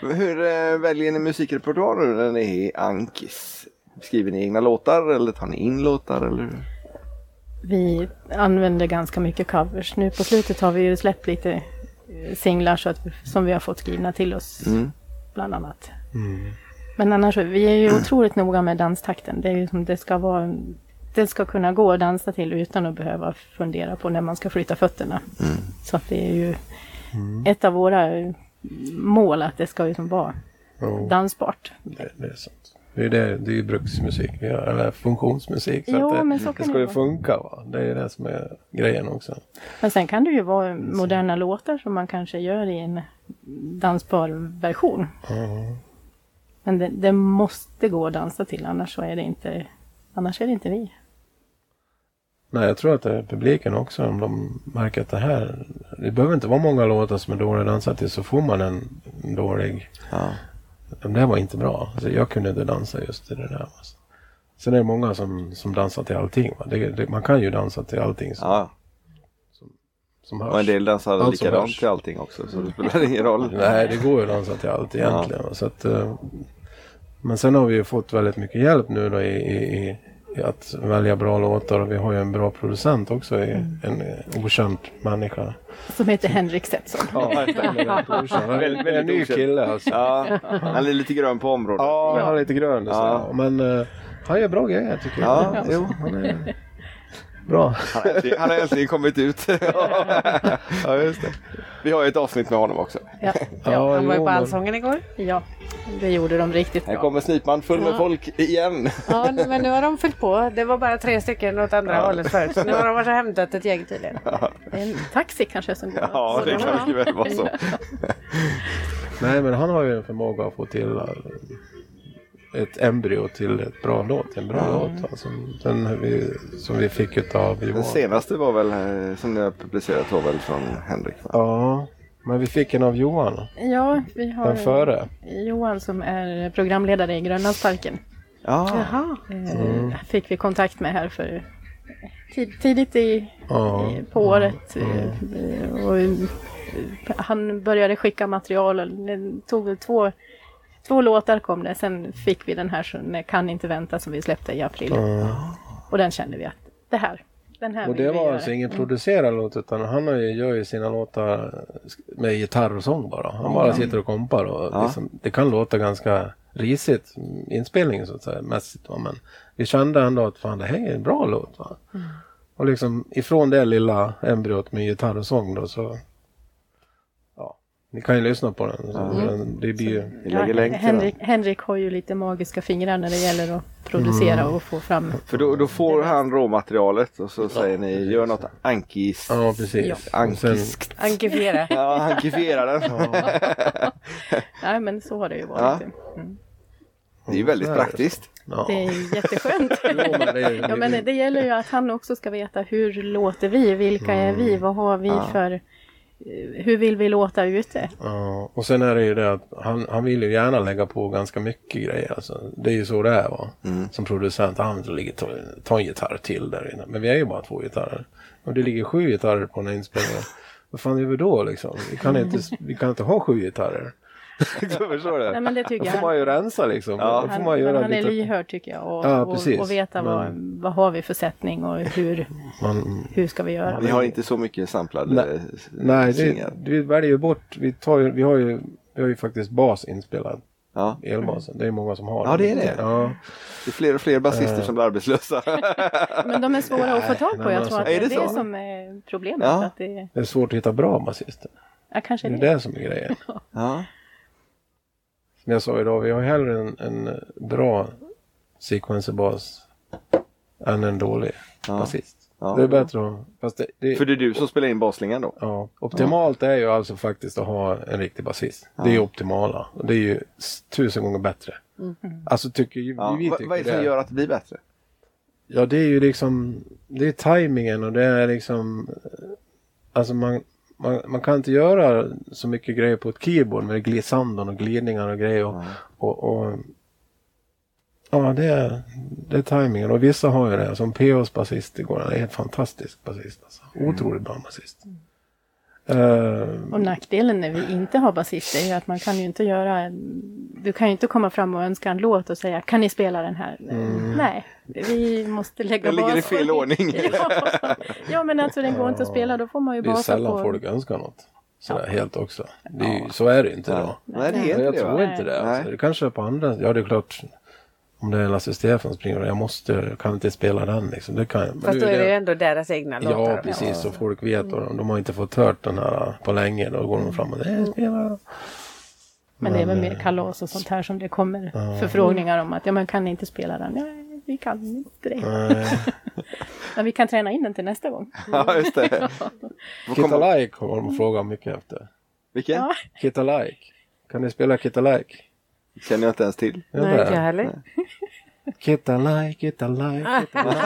Speaker 1: Hur eh, väljer ni musikrepertoar nu när ni är i Ankis? Skriver ni egna låtar eller tar ni in låtar? Eller? hur?
Speaker 3: Vi använder ganska mycket covers. Nu på slutet har vi ju släppt lite eh, singlar så att, vi- som vi har fått skrivna till oss, bland annat. Men annars, vi är ju otroligt noga med danstakten. Det, är ju som det, ska vara, en- det ska kunna gå att dansa till utan att behöva fundera på när man ska flytta fötterna. Så att det är ju ett av våra eh, mål att det ska ju som vara
Speaker 4: Jo,
Speaker 3: dansbart.
Speaker 4: det, det är sant. Det är, det, det är ju bruksmusik, vi gör, eller funktionsmusik. Så
Speaker 3: Jo,
Speaker 4: att det,
Speaker 3: men så kan
Speaker 4: det ska
Speaker 3: det
Speaker 4: ju
Speaker 3: vara.
Speaker 4: funka. Va? Det är ju det som är grejen också.
Speaker 3: Men sen kan det ju vara moderna låtar som man kanske gör i en dansbar version. Men det, det måste gå att dansa till, annars så är det inte, annars är det inte vi.
Speaker 4: Nej, jag tror att det är publiken också. Om de märker att det här... Det behöver inte vara många låtar som är dåliga dansat till så får man en en dålig...
Speaker 1: Ja.
Speaker 4: Den där var inte bra. Alltså, jag kunde inte dansa just till det där. Alltså. Sen är det många som, som dansar till allting. Va? Det, det, man kan ju dansa till allting som,
Speaker 1: ja,
Speaker 4: som
Speaker 1: och en
Speaker 4: hörs.
Speaker 1: del dansar
Speaker 4: Allt som
Speaker 1: likadant
Speaker 4: hörs.
Speaker 1: till allting också så det spelar ingen roll.
Speaker 4: Nej, det går ju att dansa till allt egentligen. va. Så att, eh, men sen har vi ju fått väldigt mycket hjälp nu då i, i, i i att välja bra låtar. Och vi har ju en bra producent också, i, en eh, okänd människa.
Speaker 3: Som heter Henrik Setson.
Speaker 4: Ja,
Speaker 1: Väldigt, väldigt
Speaker 4: väldigt, en ny
Speaker 1: okänd.
Speaker 4: kille alltså.
Speaker 1: Ja, han är lite grön på området.
Speaker 4: Ja, han är lite grön. och Så.
Speaker 1: Ja.
Speaker 4: Men eh, han gör bra grejer tycker jag.
Speaker 1: Ja,
Speaker 4: Alltså,
Speaker 1: jo.
Speaker 4: Han är bra.
Speaker 1: Han har äntligen- Han har äntligen kommit ut.
Speaker 4: Ja, just det.
Speaker 1: Vi har ju ett avsnitt med honom också.
Speaker 3: Ja,
Speaker 4: Ja,
Speaker 2: Han var ju på
Speaker 4: jo, men-
Speaker 2: Allsången igår.
Speaker 3: ja, det gjorde de riktigt
Speaker 1: Här
Speaker 3: bra.
Speaker 1: kommer Snipan full med folk igen.
Speaker 2: Ja, men nu har de fyllt på. Det var bara tre stycken åt andra hållet förut. Så nu har de varit och hämtat ett gäng tydligen.
Speaker 3: Det är En taxi kanske som går.
Speaker 1: Ja, det kan mycket väl vara så.
Speaker 4: Nej, men han har ju en förmåga att få till eh, ett embryo till ett bra låt. En bra
Speaker 3: Mm.
Speaker 4: låt alltså, den vi, som vi fick av Johan.
Speaker 1: Den senaste var väl, eh, som ni har publicerat, var väl från Henrik? va?
Speaker 4: Ja, men vi fick en av Johan.
Speaker 3: Ja, vi
Speaker 4: Den
Speaker 3: har
Speaker 4: före.
Speaker 3: Johan som är programledare i Grönlandsparken.
Speaker 1: Ja,
Speaker 2: Jaha.
Speaker 3: Eh, Fick vi kontakt med här för tid, tidigt i
Speaker 4: Ja.
Speaker 3: eh, på året. eh, Och eh, han började skicka material och det tog väl två, två låtar kom det. Sen fick vi den här som eh, Kan inte vänta som vi släppte i april. Och den kände vi att det här, den här
Speaker 4: Och
Speaker 3: vill
Speaker 4: det
Speaker 3: vi
Speaker 4: var
Speaker 3: göra. Mm.
Speaker 4: alltså ingen producerad låt utan han har ju, gör ju sina låtar med gitarr och sång bara. Han bara sitter och kompar och liksom, det kan låta ganska risigt mm, inspelning så att säga mässigt. Va? Men vi kände ändå att fan det här är en bra låt. Va?
Speaker 3: Mm.
Speaker 4: Och liksom ifrån det lilla embryot med gitarr och sång då så ja, ni kan ju lyssna på den. Så, men Det blir ju,
Speaker 1: vi lägger länk till den.
Speaker 3: Henrik, Henrik har ju lite magiska fingrar när det gäller att producera
Speaker 4: Mm.
Speaker 3: och få fram.
Speaker 1: För då, då får han råmaterialet och så säger ni, gör något ankis.
Speaker 4: ja precis. Och sen,
Speaker 1: Ankiskt.
Speaker 2: Ankifiera.
Speaker 1: Ja, ankifiera den.
Speaker 3: Nej men så har det ju
Speaker 1: Ja.
Speaker 3: varit. ju. Mm.
Speaker 1: Det är ju väldigt praktiskt.
Speaker 4: ja.
Speaker 3: Det är jätteskönt.
Speaker 4: Jo, men det är ju-
Speaker 3: Ja, men det gäller ju att han också ska veta hur låter vi, vilka är
Speaker 4: Mm.
Speaker 3: vi, vad har vi för, eh, hur vill vi låta ute?
Speaker 4: Ja, och sen är det ju det att han, han vill ju gärna lägga på ganska mycket grejer. Alltså, det är ju så det är va.
Speaker 1: Mm.
Speaker 4: Som producent, han vill ligga- ta, ta en gitarr till där inne. Men vi är ju bara två gitarrer. Och det ligger sju gitarrer på den här inspelningen. Vad fan gör vi då liksom? Vi kan inte, vi kan inte ha sju gitarrer. du förstår det?
Speaker 3: Nej, men det
Speaker 4: Då
Speaker 3: tycker
Speaker 4: får
Speaker 3: jag.
Speaker 4: man ju rensa liksom. Då får
Speaker 3: Han,
Speaker 4: man
Speaker 3: men
Speaker 4: göra
Speaker 3: han är
Speaker 4: lite...
Speaker 3: lyhörd tycker jag och,
Speaker 4: Ja,
Speaker 3: och,
Speaker 4: precis.
Speaker 3: och veta vad, vad har vi för sättning och hur,
Speaker 4: Man,
Speaker 3: hur ska vi göra.
Speaker 1: Vi har inte så mycket samplade
Speaker 4: Nej.
Speaker 1: eh,
Speaker 4: nej, det,
Speaker 1: singlar.
Speaker 4: vi väljer ju bort. Vi, tar ju, vi, har ju, vi har ju faktiskt bas inspelad.
Speaker 1: Ja,
Speaker 4: Elbasen. Det är många som har
Speaker 1: Mm. Ja, det är det.
Speaker 4: Ja.
Speaker 1: det är fler och fler basister
Speaker 4: Eh.
Speaker 1: som blir arbetslösa.
Speaker 3: Men de är svåra att få tag på.
Speaker 4: men
Speaker 3: Jag tror att
Speaker 1: alltså-
Speaker 3: det
Speaker 1: Är
Speaker 3: är
Speaker 1: det
Speaker 3: det,
Speaker 1: så?
Speaker 3: som är problemet.
Speaker 1: Ja.
Speaker 3: Att det,
Speaker 4: Det är svårt att hitta bra basister.
Speaker 3: ja, kanske
Speaker 4: Det är
Speaker 3: det.
Speaker 4: det som är grejen.
Speaker 1: Ja,
Speaker 4: Som jag sa idag, vi har hellre en, en bra sequencerbas än en dålig basist.
Speaker 1: Ja.
Speaker 4: Det är bättre att... Fast det, det,
Speaker 1: För det är du som spelar in basslingan då?
Speaker 4: ja. Optimalt är ju alltså faktiskt att ha en riktig basist. Det är ju optimala. Och det är ju s- tusen gånger bättre. Alltså tycker ju
Speaker 1: Mm. Ja.
Speaker 4: vi
Speaker 1: Va-
Speaker 4: tycker
Speaker 1: vad är det som
Speaker 4: det.
Speaker 1: gör att det blir bättre?
Speaker 4: Ja, det är ju liksom, det är tajmingen och det är liksom, eh, alltså man, man, man kan inte göra så mycket grejer på ett keyboard med glissandon och glidningar och grejer. Och, och, och, ja, det är, det är tajmingen och vissa har ju det. Som P.O.s basist igår, han är helt fantastisk basist. Alltså. Otroligt bra basist. Eh,
Speaker 3: Och nackdelen när vi inte har basist är ju att man kan ju inte göra... en- Du kan ju inte komma fram och önska en låt och säga kan ni spela den här? Nej, vi måste lägga
Speaker 1: Mm. Den ligger i
Speaker 3: bas-
Speaker 1: fel ordning.
Speaker 3: ja. ja, men alltså den går inte att spela, då får man ju
Speaker 4: det är
Speaker 3: basa
Speaker 4: sällan
Speaker 3: på...
Speaker 4: folk önskar något. Sådär helt också. Det är, ju- Så är det ju inte då.
Speaker 1: Nej, det är
Speaker 3: Nej.
Speaker 1: inte
Speaker 4: Nej, jag
Speaker 1: det
Speaker 4: tror
Speaker 1: va?
Speaker 4: inte det.
Speaker 1: Nej.
Speaker 4: Alltså, det kanske är på andra. Ja, det är klart. Om det är Lasse Stefan springer jag måste, kan inte spela den liksom. Det kan, men
Speaker 2: Fast
Speaker 4: nu
Speaker 2: då är det ju ändå deras egna låtar.
Speaker 4: Ja, precis. Så folk vet. Och de, de har inte fått hört den här på länge. Då går de fram och "Nej, spela.
Speaker 3: Men det är väl
Speaker 4: eh,
Speaker 3: mer kalas och sånt här som det kommer förfrågningar om att ja, men kan ni inte spela den? Nej, vi kan inte det.
Speaker 4: Nej.
Speaker 3: Men vi kan träna in den till nästa gång.
Speaker 1: Ja, just det. Får
Speaker 4: Kitta
Speaker 1: komma-
Speaker 4: Like har de frågat mycket efter.
Speaker 1: Vilken?
Speaker 3: Ja.
Speaker 4: Kitta Like. Kan ni spela Kitta Like?
Speaker 1: Känner jag inte ens till.
Speaker 4: Ja,
Speaker 2: Nej,
Speaker 4: där.
Speaker 2: inte jag heller.
Speaker 4: Kitta Like, Kitta Like, Kitta Like.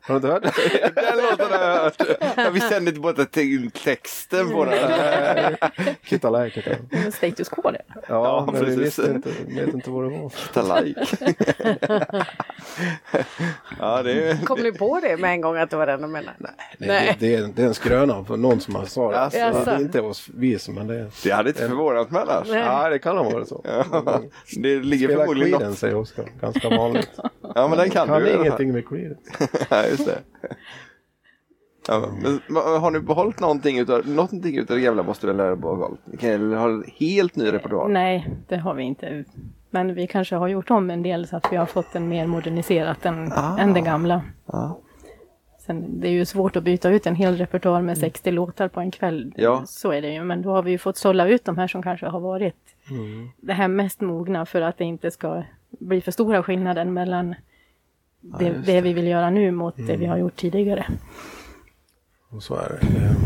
Speaker 4: Har du inte hört det?
Speaker 1: Den låten har jag hört. Ja, Vi kände inte båda till texten på den.
Speaker 4: Kitta Like heter den.
Speaker 3: Men Status quo det.
Speaker 4: Ja,
Speaker 1: Ja,
Speaker 4: men vi
Speaker 1: precis.
Speaker 4: visste inte, vet inte vad det var.
Speaker 1: Kitta like. Ja, det är...
Speaker 2: Kom ni på det med en gång att det var den de menade?
Speaker 4: Nej,
Speaker 2: Nej.
Speaker 4: Det, det, är, det är en skröna för någon som har sagt det.
Speaker 1: Alltså.
Speaker 4: det är inte oss, vi som men det är...
Speaker 1: Det hade inte förvånat mig annars.
Speaker 4: Ja, det kan ha varit så.
Speaker 1: Ja, det ligger
Speaker 4: Spela
Speaker 1: förmodligen något.
Speaker 4: Creedence är också ganska vanligt.
Speaker 1: Ja, men den kan,
Speaker 4: Kan
Speaker 1: du i alla fall.
Speaker 4: ingenting med Creedence.
Speaker 1: Ja, just det. Ja, men, men har ni behållit någonting utav, någonting utav det jävla måste väl ha behållit? Ni kan ju ha en helt ny repertoar.
Speaker 3: Nej, det har vi inte. Men vi kanske har gjort om en del så att vi har fått den mer moderniserat än, än den gamla.
Speaker 1: Ja.
Speaker 3: Sen, det är ju svårt att byta ut en hel repertoar med 60 låtar på en kväll.
Speaker 1: Ja.
Speaker 3: Så är det ju, men då har vi ju fått sålla ut de här som kanske har varit det här mest mogna för att det inte ska bli för stora skillnaden mellan det, det. vi vill göra nu mot det vi har gjort tidigare.
Speaker 4: Och så är det. Ehm,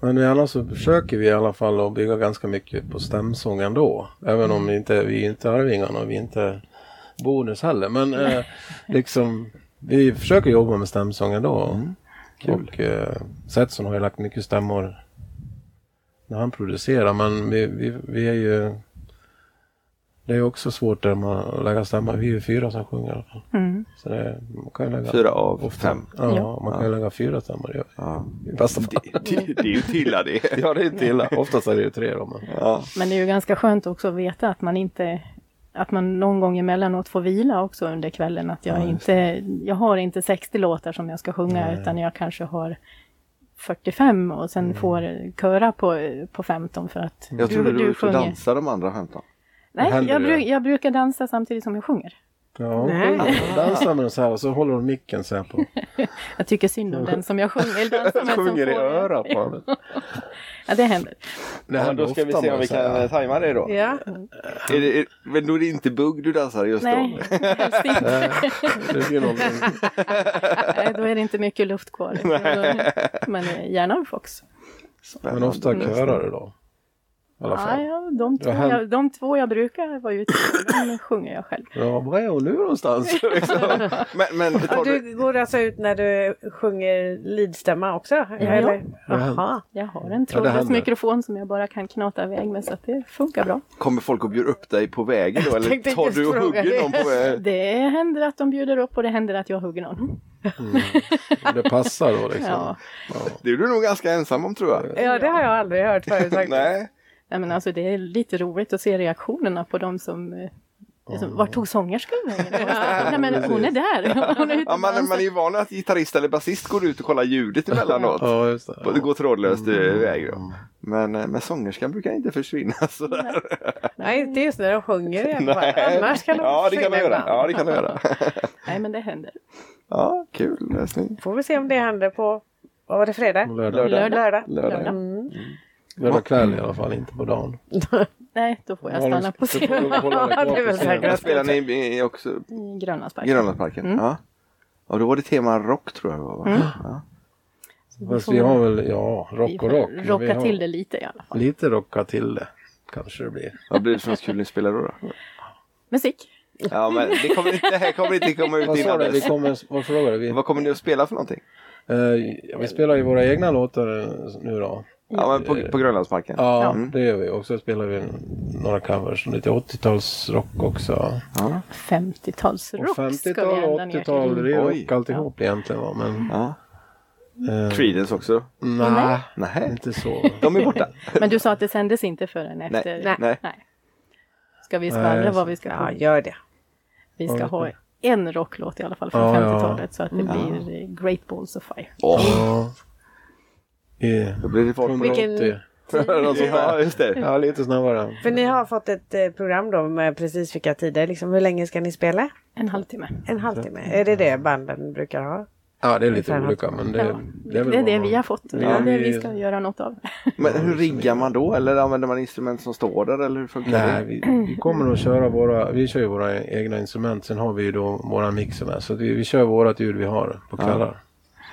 Speaker 4: Men annars så försöker vi i alla fall att bygga ganska mycket på stämsång ändå. Även om vi inte, vi är inte Arvingarna och vi är inte Bonus heller. Men eh, liksom, vi försöker jobba med stämsång ändå. Och eh, Setson har ju lagt mycket stämmor när han producerar. Men vi, vi, vi är ju... Det är ju också svårt där man att lägga stämma. Vi är ju fyra som sjunger i alla fall. Så det, man kan ju lägga
Speaker 1: Fyra av
Speaker 4: Ofta.
Speaker 1: fem.
Speaker 4: Ja,
Speaker 3: Ja.
Speaker 4: man kan ju lägga fyra stammar. Ja.
Speaker 1: Ja.
Speaker 4: I bästa fall.
Speaker 1: Det, det är ju till det.
Speaker 4: Ja, det är inte illa. Oftast är det ju tre då. Men...
Speaker 1: Ja.
Speaker 3: Men det är ju ganska skönt också att veta att man inte att man någon gång emellanåt får vila också under kvällen. Att jag, inte, jag har inte 60 låtar som jag ska sjunga utan jag kanske har 45 och sen
Speaker 4: Mm.
Speaker 3: får köra på, på 15 för att
Speaker 1: Jag trodde du, du skulle dansa de andra 15.
Speaker 3: Nej,
Speaker 4: händer
Speaker 3: jag,
Speaker 4: det.
Speaker 3: bru- jag brukar dansa samtidigt som jag sjunger.
Speaker 4: Ja,
Speaker 2: Nej.
Speaker 4: dansar med den så här och så håller de micken så här på.
Speaker 3: Jag tycker synd om den som jag sjunger. eller dansar med som
Speaker 4: Sjunger i
Speaker 3: får det.
Speaker 4: örat på honom.
Speaker 3: Ja, det händer.
Speaker 4: Det händer ofta man så här.
Speaker 1: tajma det då.
Speaker 2: Ja.
Speaker 1: Är det, är, men då är det inte bugg du dansar just
Speaker 3: Nej,
Speaker 1: då?
Speaker 3: helst inte.
Speaker 4: Det blir någon...
Speaker 3: Nej, Då är det inte mycket luft kvar. Men eh, gärna en fox.
Speaker 4: Men ofta körar det då. I alla
Speaker 3: Ja,
Speaker 4: fall.
Speaker 3: ja, de, två
Speaker 4: Ja, han-
Speaker 3: jag, de två jag brukar vara ute med, de sjunger jag själv.
Speaker 4: Ja, var är hon nu någonstans?
Speaker 1: Men, men
Speaker 2: Och
Speaker 1: tar du,
Speaker 2: du går alltså ut när du sjunger lidstämma också? Eller? Jaha.
Speaker 3: Jag har en
Speaker 4: Ja, det händer.
Speaker 3: trådlös mikrofon som jag bara kan knata iväg med så att det funkar bra.
Speaker 1: kommer folk och bjuder upp dig på vägen då?
Speaker 2: tänkte
Speaker 1: Eller tar
Speaker 2: just
Speaker 1: du och
Speaker 2: fråga
Speaker 1: hugger
Speaker 2: det.
Speaker 1: någon på vägen?
Speaker 3: Det händer att de bjuder upp och det händer att jag hugger någon.
Speaker 4: Det passar då liksom.
Speaker 3: Ja.
Speaker 1: Det är du nog ganska ensam om tror jag.
Speaker 2: Ja, det har jag aldrig hört förut faktiskt.
Speaker 1: Nej.
Speaker 3: Nej, men alltså, det är lite roligt att se reaktionerna på de som eh, Liksom, vart tog sångerskan vägen? Nej men hon är där! Hon är ute
Speaker 1: Ja, man,
Speaker 3: och
Speaker 1: man är
Speaker 3: dansar.
Speaker 1: ju van att gitarrist eller basist går ut och kollar ljudet emellanåt.
Speaker 4: Ja, Mm. just det.
Speaker 1: Och Det går trådlöst iväg då. Men, eh, men sångerskan brukar inte försvinna sådär.
Speaker 2: Nej, inte just när de sjunger i alla fall. Annars kan de
Speaker 1: ja, det kan de
Speaker 2: försvinna
Speaker 1: göra.
Speaker 2: ibland.
Speaker 1: Ja, det kan de göra.
Speaker 3: Nej men det händer.
Speaker 1: Ja, kul läsning.
Speaker 2: Får vi se om det händer på, vad var det, fredag?
Speaker 4: Lördag.
Speaker 3: Lördag.
Speaker 2: Lördag.
Speaker 1: Lördag.
Speaker 2: Mm.
Speaker 4: Lördag kväll i alla fall, inte på dagen.
Speaker 3: Nej, då får jag stanna på scenen
Speaker 4: scenen.
Speaker 2: Det är väl säkert.
Speaker 1: Spelar ni i- i också
Speaker 3: i Gröna sparken.
Speaker 1: Grönlandsparken?
Speaker 3: Mm.
Speaker 1: Ja. Ja, då var det tema rock tror jag det var. va?
Speaker 3: Mm.
Speaker 1: Ja.
Speaker 3: Så
Speaker 4: Fast
Speaker 3: får
Speaker 4: vi har
Speaker 3: vi
Speaker 4: väl, ja, rock
Speaker 3: får
Speaker 4: och rock. men vi
Speaker 3: Rocka
Speaker 4: har
Speaker 3: till det lite i alla fall.
Speaker 4: Lite rocka till det. Kanske det blir.
Speaker 1: Vad blir det för något kul ni spelar då? då?
Speaker 3: Musik.
Speaker 1: Ja, men det kommer inte, det här kommer inte komma ut
Speaker 4: Vad sa
Speaker 1: innan
Speaker 4: du? Vi
Speaker 1: dess.
Speaker 4: kommer, vad frågade vi?
Speaker 1: Vad kommer ni att spela för någonting?
Speaker 4: Eh, ja, vi spelar ju våra egna låtar eh, nu då.
Speaker 1: Ja, men på, på Grönlandsparken.
Speaker 4: Ja,
Speaker 1: Mm.
Speaker 4: det gör vi. Och så spelar vi några covers. Lite 80-talsrock också.
Speaker 1: Ja.
Speaker 3: 50-talsrock
Speaker 4: Och
Speaker 3: ska vi
Speaker 4: 50-tal och
Speaker 3: ända ner
Speaker 4: 80-tal,
Speaker 3: till.
Speaker 4: det är
Speaker 1: Oj.
Speaker 4: rock alltihop egentligen. Va? Men,
Speaker 1: ja.
Speaker 4: eh,
Speaker 1: Creedence också?
Speaker 4: Nej,
Speaker 1: Nej,
Speaker 4: inte så.
Speaker 1: de är borta.
Speaker 3: Men du sa att det sändes inte förrän efter.
Speaker 2: Nej.
Speaker 1: Nej.
Speaker 3: Ska vi skvallra
Speaker 4: Nej,
Speaker 3: vad vi ska
Speaker 2: Ja,
Speaker 3: på?
Speaker 2: gör det.
Speaker 3: Vi ska
Speaker 4: Ja,
Speaker 3: ha en rocklåt i alla fall från
Speaker 4: Ja, Mm. ja.
Speaker 3: 50-talet så att det blir eh, Great Balls of Fire.
Speaker 1: Åh,
Speaker 4: Ja. I,
Speaker 1: då blir det folk.
Speaker 4: 180.
Speaker 2: Vilken-
Speaker 1: Någon som- ja, just det.
Speaker 4: Ja, lite snabbare.
Speaker 2: För ni har fått ett eh, program då med precis vilka tider. Liksom, hur länge ska ni spela?
Speaker 3: En halvtimme.
Speaker 2: En halvtimme? Är det det banden brukar ha?
Speaker 4: Ja, det är lite
Speaker 2: Ungefär.
Speaker 4: olika. Men det,
Speaker 3: Ja.
Speaker 4: det är väl
Speaker 3: Det är
Speaker 4: vad
Speaker 3: det
Speaker 4: man-
Speaker 3: vi har fått. Det
Speaker 4: Ja,
Speaker 3: är det vi
Speaker 4: vi-
Speaker 3: ska göra något av.
Speaker 1: Men hur riggar man då? Eller använder man instrument som står där? Eller hur funkar
Speaker 4: Nej,
Speaker 1: det?
Speaker 4: vi, vi kommer att köra våra, vi kör ju våra egna instrument. Sen har vi ju då våra mixer med. Så att vi, vi kör vårat ljud vi har på kvällar.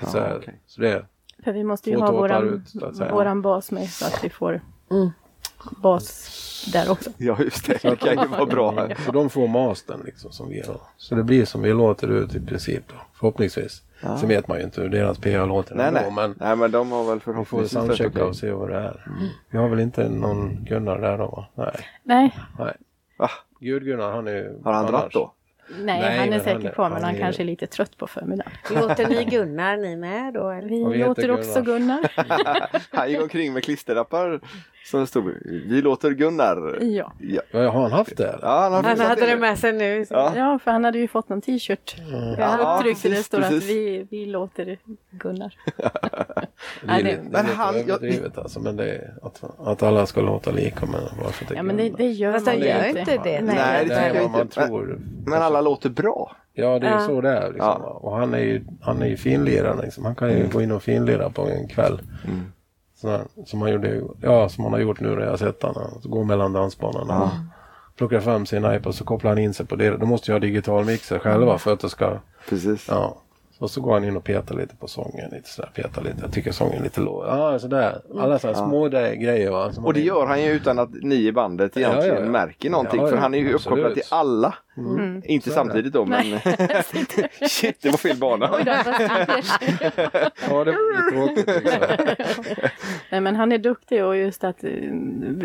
Speaker 4: Så,
Speaker 1: Ja,
Speaker 4: här,
Speaker 1: okej.
Speaker 4: så det är
Speaker 3: För vi måste ju
Speaker 4: två
Speaker 3: ha
Speaker 4: tåtar
Speaker 3: våran,
Speaker 4: ut. Så att säga.
Speaker 3: våran bas med så att vi får bas där också.
Speaker 1: Ja, just det. Det kan ju vara bra.
Speaker 4: Ja, Så de får mastern liksom som vi har. Så det blir som vi låter ut i princip då, förhoppningsvis. Sen vet man ju inte hur deras PA låter
Speaker 1: Nej,
Speaker 4: ändå,
Speaker 1: nej.
Speaker 4: men
Speaker 1: nej, men de har väl
Speaker 4: vi får
Speaker 1: förhoppningsvis... rätt
Speaker 4: soundchecka
Speaker 1: okej.
Speaker 4: och se vad det är.
Speaker 1: Mm.
Speaker 4: Vi har väl inte någon Gunnar där då va? Nej.
Speaker 3: Nej,
Speaker 4: nej.
Speaker 1: Va?
Speaker 4: Gud-Gunnar han är ju
Speaker 1: Ah, Har han dratt
Speaker 4: annars-
Speaker 1: då?
Speaker 3: nej,
Speaker 4: Nej,
Speaker 3: han är
Speaker 4: men
Speaker 3: säkert
Speaker 4: han-
Speaker 3: kvar men
Speaker 4: han
Speaker 3: han,
Speaker 4: är-
Speaker 3: kanske är lite trött på förmiddagen.
Speaker 2: Låter ni Gunnar ni med då? Eller?
Speaker 3: Vi
Speaker 4: Och vi heter
Speaker 3: låter också Gunnar.
Speaker 1: Han gick omkring med klisterlappar som det stod Vi låter Gunnar.
Speaker 3: ja.
Speaker 1: Ja,
Speaker 4: Ja, har han haft det? eller?
Speaker 1: ja han har
Speaker 2: Han
Speaker 1: fixat
Speaker 2: hade det med sig nu.
Speaker 1: Ja.
Speaker 3: ja, för han hade ju fått någon t-shirt.
Speaker 4: Mm.
Speaker 1: Ja,
Speaker 3: Jag tryckte det
Speaker 1: precis,
Speaker 3: står att
Speaker 1: precis.
Speaker 3: vi, vi låter Gunnar.
Speaker 4: Det är
Speaker 3: Nej, det-
Speaker 4: lite, det är
Speaker 1: Men
Speaker 4: lite
Speaker 1: han- jag-
Speaker 4: överdrivet alltså. Men det är att, att alla ska låta lika. Men varför
Speaker 3: Ja, men det, det gör
Speaker 2: Fast
Speaker 3: man
Speaker 2: han
Speaker 3: ju
Speaker 2: gör inte det.
Speaker 3: Nej,
Speaker 1: Nej,
Speaker 4: Nej,
Speaker 1: det
Speaker 4: det
Speaker 1: tycker
Speaker 4: är
Speaker 1: jag
Speaker 4: vad man
Speaker 1: inte. Men-
Speaker 4: tror.
Speaker 1: Men alla låter bra.
Speaker 4: Ja, det är ju
Speaker 2: Ja.
Speaker 4: så det är. Liksom.
Speaker 1: Ja. Mm.
Speaker 4: Och han är ju, han är ju finlirare. Liksom. Han kan ju gå in och finlira på en kväll. Sådär, som, han gjorde, ja, som han har gjort nu när jag har sett honom. Han går mellan dansbanorna. och Plockar fram sin iPod så kopplar han in sig på det. De måste ju ha digital mixer själva för att det ska...
Speaker 1: Precis.
Speaker 4: Ja. Och så går han in och petar lite på sången. Lite sådär, petar lite. Jag tycker sången är lite låg. Mm. Ja, sådär. Alla sådana små där grejer. Va, som
Speaker 1: Och det
Speaker 4: han-
Speaker 1: gör han ju utan att ni i bandet egentligen
Speaker 4: ja, ja.
Speaker 1: märker någonting.
Speaker 4: Ja, ja,
Speaker 1: för han är ju
Speaker 4: absolut. Mm.
Speaker 1: uppkopplad till alla. Inte
Speaker 4: Så är det.
Speaker 1: samtidigt då men... Shit, det var fel bana.
Speaker 3: Oj då, vad stackars.
Speaker 4: Ja, det var ju tråkigt. Liksom.
Speaker 3: Nej men han är duktig och just att eh,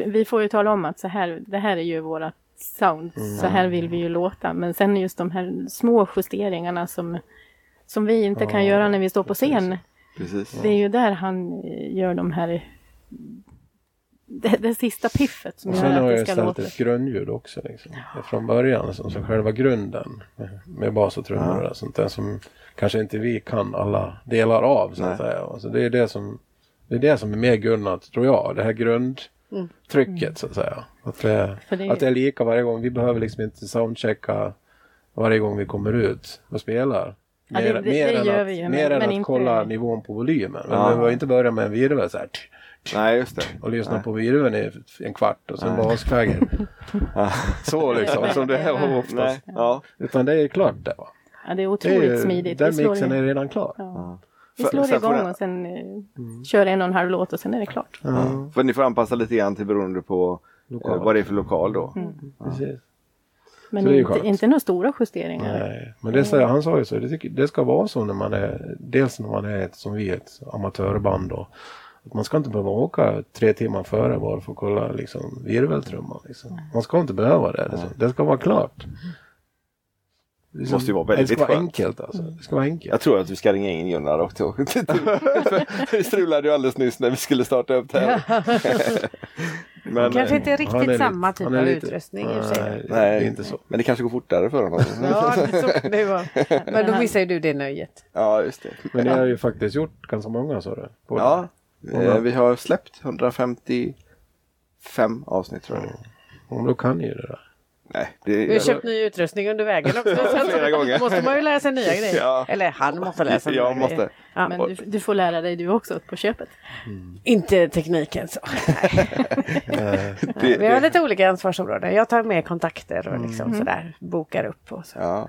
Speaker 3: vi får ju tala om att så här, det här är ju vårat sound,
Speaker 4: Mm.
Speaker 3: så här vill vi ju låta. Men sen just de här små justeringarna som, som vi inte kan
Speaker 4: Ja,
Speaker 3: göra när vi står på scen.
Speaker 1: Precis.
Speaker 3: Det är ju där han eh, gör de här det, det sista piffet som
Speaker 4: Och sen
Speaker 3: gör
Speaker 4: har
Speaker 3: att det
Speaker 4: jag
Speaker 3: ska
Speaker 4: ställt
Speaker 3: låta.
Speaker 4: ett grundljud också. Liksom. Från början, liksom, så själva grunden med, med bas och trummor och det där, sånt där som kanske inte vi kan alla delar av. Så att
Speaker 1: Nej.
Speaker 4: säga. Alltså, det, är det, som, det är det som är mer Gunnar, tror jag. Det här grundtrycket så att säga. Att det,
Speaker 3: Mm. För det-
Speaker 4: att det är lika varje gång. Vi behöver liksom inte soundchecka varje gång vi kommer ut och spelar.
Speaker 3: Ja, det- det- det
Speaker 4: mer än
Speaker 3: gör
Speaker 4: att,
Speaker 3: vi ju, men-
Speaker 4: mer än
Speaker 3: men
Speaker 4: att
Speaker 3: inte-
Speaker 4: kolla nivån på volymen. Men
Speaker 1: Ja.
Speaker 4: vi behöver inte börja med en virvel så här. tch,
Speaker 1: Nej, just det.
Speaker 4: och lyssna
Speaker 1: Nej.
Speaker 4: på virveln i en kvart och sen
Speaker 1: Nej.
Speaker 4: baskläger. så liksom, som det är oftast.
Speaker 1: Nej. Ja.
Speaker 4: Utan det är klart det. Va?
Speaker 3: Ja, det är
Speaker 4: Det är
Speaker 3: otroligt
Speaker 4: ju,
Speaker 3: smidigt.
Speaker 4: Den
Speaker 3: Vi slår
Speaker 4: mixen
Speaker 3: i-
Speaker 4: är redan klar.
Speaker 3: Ja. Vi
Speaker 1: För-
Speaker 3: slår
Speaker 1: sen får Mm.
Speaker 3: igång
Speaker 1: ni-
Speaker 3: och sen eh, kör en och en halv låt och sen är det klart.
Speaker 1: Ja. För ni får anpassa lite grann till beroende på eh,
Speaker 4: Lokal.
Speaker 1: vad det är för lokal då.
Speaker 4: Precis.
Speaker 3: Men
Speaker 4: Så det är ju
Speaker 3: inte,
Speaker 4: skönt.
Speaker 3: inte några stora justeringar.
Speaker 4: Nej. Men det säger, han sa ju så, det, tycker, det ska vara så när man är, dels när man är ett, som vi, ett amatörband. Då, att man ska inte behöva åka tre timmar före bara för att kolla liksom, virveltrumman. Liksom. Man ska inte behöva det. Liksom. Det ska vara klart.
Speaker 2: Mm.
Speaker 4: Det
Speaker 1: måste ju vara väldigt
Speaker 4: Det ska vara
Speaker 1: skönt.
Speaker 4: enkelt alltså. Det ska vara enkelt.
Speaker 1: Jag tror att vi ska ringa in Gunnar också. Vi strulade ju alldeles nyss när vi skulle starta upp det här. Men,
Speaker 2: Kanske
Speaker 1: eh,
Speaker 2: inte
Speaker 4: Han är
Speaker 2: riktigt
Speaker 4: lite-
Speaker 2: samma typ
Speaker 4: han är
Speaker 2: av
Speaker 4: lite-
Speaker 2: utrustning i och för sig.
Speaker 4: Nej,
Speaker 1: Nej.
Speaker 4: det är inte så.
Speaker 1: men det kanske går fortare för honom.
Speaker 2: Ja, så, det var. Men då missar ju du det nöjet.
Speaker 1: Ja, just det.
Speaker 4: Men ni har ju faktiskt gjort ganska många sa du? Både.
Speaker 1: Ja, eh,
Speaker 4: bra.
Speaker 1: vi har släppt 155 avsnitt tror jag.
Speaker 4: Och då kan ni ju det där.
Speaker 1: Nej, det
Speaker 2: Vi har
Speaker 1: jag-
Speaker 2: köpt ny utrustning under vägen också. Så att-
Speaker 1: Flera gånger.
Speaker 2: måste man ju lära sig nya grejer.
Speaker 1: Ja.
Speaker 2: Eller han måste lära sig
Speaker 1: Jag
Speaker 2: nya
Speaker 1: måste.
Speaker 2: grejer. Ja,
Speaker 3: Men du, du får lära dig du också på köpet.
Speaker 2: Inte tekniken så.
Speaker 1: Det,
Speaker 2: Vi har
Speaker 1: det,
Speaker 2: Mm. lite olika ansvarsområden. Jag tar med kontakter och liksom sådär, bokar upp och så.
Speaker 1: ja.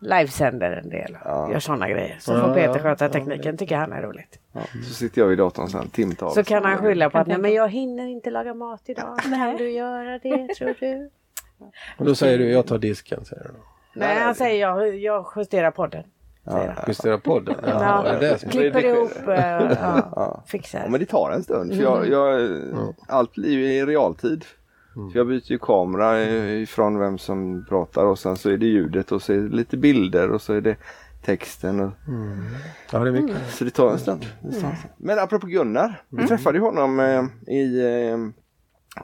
Speaker 2: livesänder en del.
Speaker 1: Ja.
Speaker 2: Gör sådana grejer. Så
Speaker 4: Ja,
Speaker 2: får Peter
Speaker 4: ja.
Speaker 2: sköta
Speaker 4: Ja,
Speaker 2: tekniken. Tycker han är roligt.
Speaker 1: Så sitter jag vid datorn sen timtal.
Speaker 2: Så kan han skylla på
Speaker 3: Kan
Speaker 2: att nej
Speaker 3: tänka.
Speaker 2: men jag hinner inte laga mat idag. Kan
Speaker 3: Nej.
Speaker 2: du göra det tror du?
Speaker 4: Och då säger du jag tar disken säger du då.
Speaker 2: Nej han säger jag, jag justerar podden. Säger han.
Speaker 4: Justera podden. Ja,
Speaker 2: Ja.
Speaker 4: är det som är.
Speaker 2: Klipper
Speaker 1: det-
Speaker 2: ihop, eh, ja,
Speaker 1: Ja. Ja,
Speaker 2: fixar.
Speaker 1: men det tar en stund. För jag,
Speaker 2: Mm.
Speaker 1: jag, Allt blir ju i realtid. För jag byter ju kamera eh, ifrån vem som pratar och sen så är det ljudet och så är det lite bilder och så är det texten. Och,
Speaker 4: Ja, det är mycket.
Speaker 1: Så det tar en stund. Det tar
Speaker 4: Mm.
Speaker 1: en stund. Men apropå Gunnar. Vi träffade ju honom eh, i eh,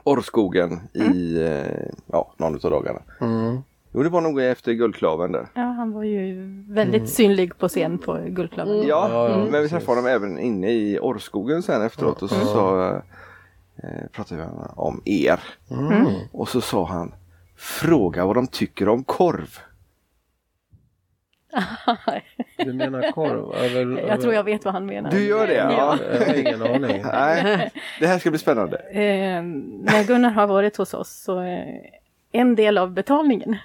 Speaker 1: Orrskogen i eh, ja, någon av dagarna.
Speaker 4: Mm.
Speaker 1: Jo, det var nog efter Guldklaven där.
Speaker 3: Ja, han var ju väldigt
Speaker 1: Mm.
Speaker 3: synlig på scen på Guldklubben.
Speaker 1: Ja,
Speaker 4: Ja, ja,
Speaker 1: men vi
Speaker 4: precis. Mm.
Speaker 1: träffade honom även inne i Orrskogen sen efteråt och så, sa, eh, pratade vi om er.
Speaker 4: Mm.
Speaker 1: Och så sa han Fråga vad de tycker om korv.
Speaker 4: Du menar korv? Över,
Speaker 3: Jag tror jag vet vad han menar.
Speaker 1: Du gör det? Ja.
Speaker 4: Jag har ingen aning.
Speaker 1: Nej, det här ska bli spännande.
Speaker 3: Eh, när Gunnar har varit hos oss så eh, en del av betalningen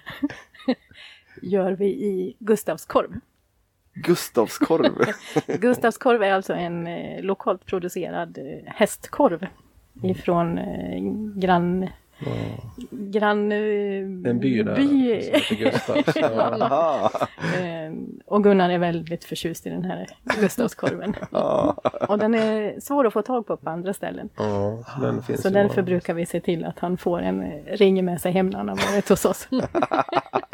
Speaker 3: gör vi i Gustavskorv.
Speaker 1: Gustavskorv.
Speaker 3: Gustavskorv är alltså en eh, lokalt producerad eh, hästkorv ifrån eh, grann... Grann... Eh,
Speaker 4: En by där.
Speaker 3: by.
Speaker 4: Som heter Gustavs. Ja.
Speaker 1: Ah,
Speaker 3: Eh, och Gunnar är väldigt förtjust i den här Gustavskorven. och den är svår att få tag på på andra ställen.
Speaker 4: Ja, så den finns
Speaker 3: Så
Speaker 4: ju
Speaker 3: därför
Speaker 4: bara.
Speaker 3: brukar vi se till att han får en eh, ring med sig hem när han har varit hos oss.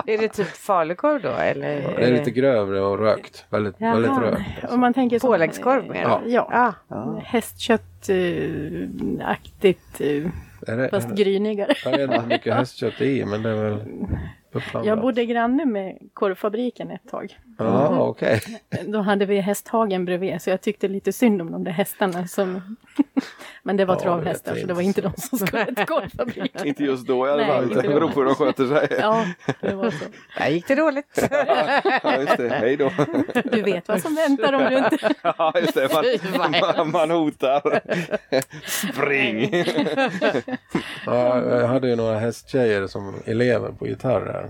Speaker 2: Är det typ falukorv då? Eller?
Speaker 4: Ja, Det är lite grövre och rökt. Väldigt, väldigt
Speaker 3: Jaha.
Speaker 4: rökt.
Speaker 3: Om man tänker så-
Speaker 2: Påläggskorv menar
Speaker 3: Ja.
Speaker 2: du?
Speaker 3: ja.
Speaker 2: Ja.
Speaker 3: Hästkött-aktigt, eh,
Speaker 4: Är det,
Speaker 3: fast
Speaker 4: är det-
Speaker 3: grynigare.
Speaker 4: jag vet inte hur mycket hästkött det är i, men det är väl uppblandat.
Speaker 3: Jag bodde granne med korvfabriken ett tag.
Speaker 4: Ja, okej.
Speaker 3: Då hade vi hästhagen bredvid, så jag tyckte lite synd om de där hästarna som... Men det var
Speaker 4: Ja,
Speaker 3: travhästar,
Speaker 4: det är
Speaker 3: så det var inte de som skulle till korvfabriken.
Speaker 1: inte just då i alla
Speaker 3: Nej,
Speaker 1: fall.
Speaker 3: inte
Speaker 1: Det
Speaker 3: då.
Speaker 1: beror på hur de sköter sig.
Speaker 3: Ja, det var så.
Speaker 2: Där gick det dåligt.
Speaker 1: Ja, just det. Hej då.
Speaker 3: Du vet vad som väntar om du inte...
Speaker 1: Ja, just det. Man, man, man hotar. Spring!
Speaker 4: Ja, jag hade ju några hästtjejer som elever på gitarr här.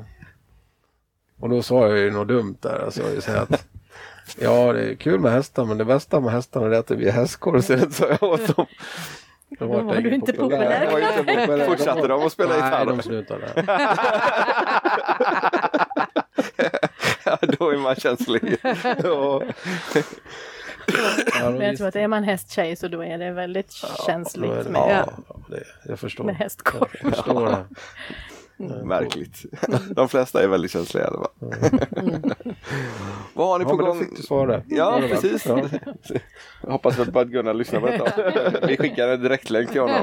Speaker 4: Och då sa jag ju något dumt där. Alltså, jag sa att ja, det är kul med hästar, men det bästa med hästarna är att det blir hästkorv istället, sa jag åt dem. Då vart
Speaker 3: var
Speaker 4: jag
Speaker 3: du inte populär.
Speaker 1: Det var ju inte populärt. Fortsatte de att spela
Speaker 4: Nej,
Speaker 1: gitarr?
Speaker 4: de slutade.
Speaker 1: Ja, då är man känslig. Ja.
Speaker 4: Ja,
Speaker 3: Men
Speaker 4: de
Speaker 3: jag tror att
Speaker 4: visste-
Speaker 3: är man hästtjej så då är det väldigt
Speaker 4: då är
Speaker 3: känsligt
Speaker 4: det-
Speaker 3: med,
Speaker 4: Ja, det, jag förstår.
Speaker 3: med hästkorv.
Speaker 4: Jag förstår det.
Speaker 1: Märkligt. De flesta är väldigt känsliga i alla fall. Mm. Vad har ni
Speaker 4: Ja,
Speaker 1: på
Speaker 4: men då
Speaker 1: gång?
Speaker 4: fick du svara.
Speaker 1: Ja,
Speaker 4: det var-
Speaker 1: precis.
Speaker 4: Ja.
Speaker 1: Jag hoppas väl på att Gunnar lyssnar på detta. Vi skickar en direktlänk till honom.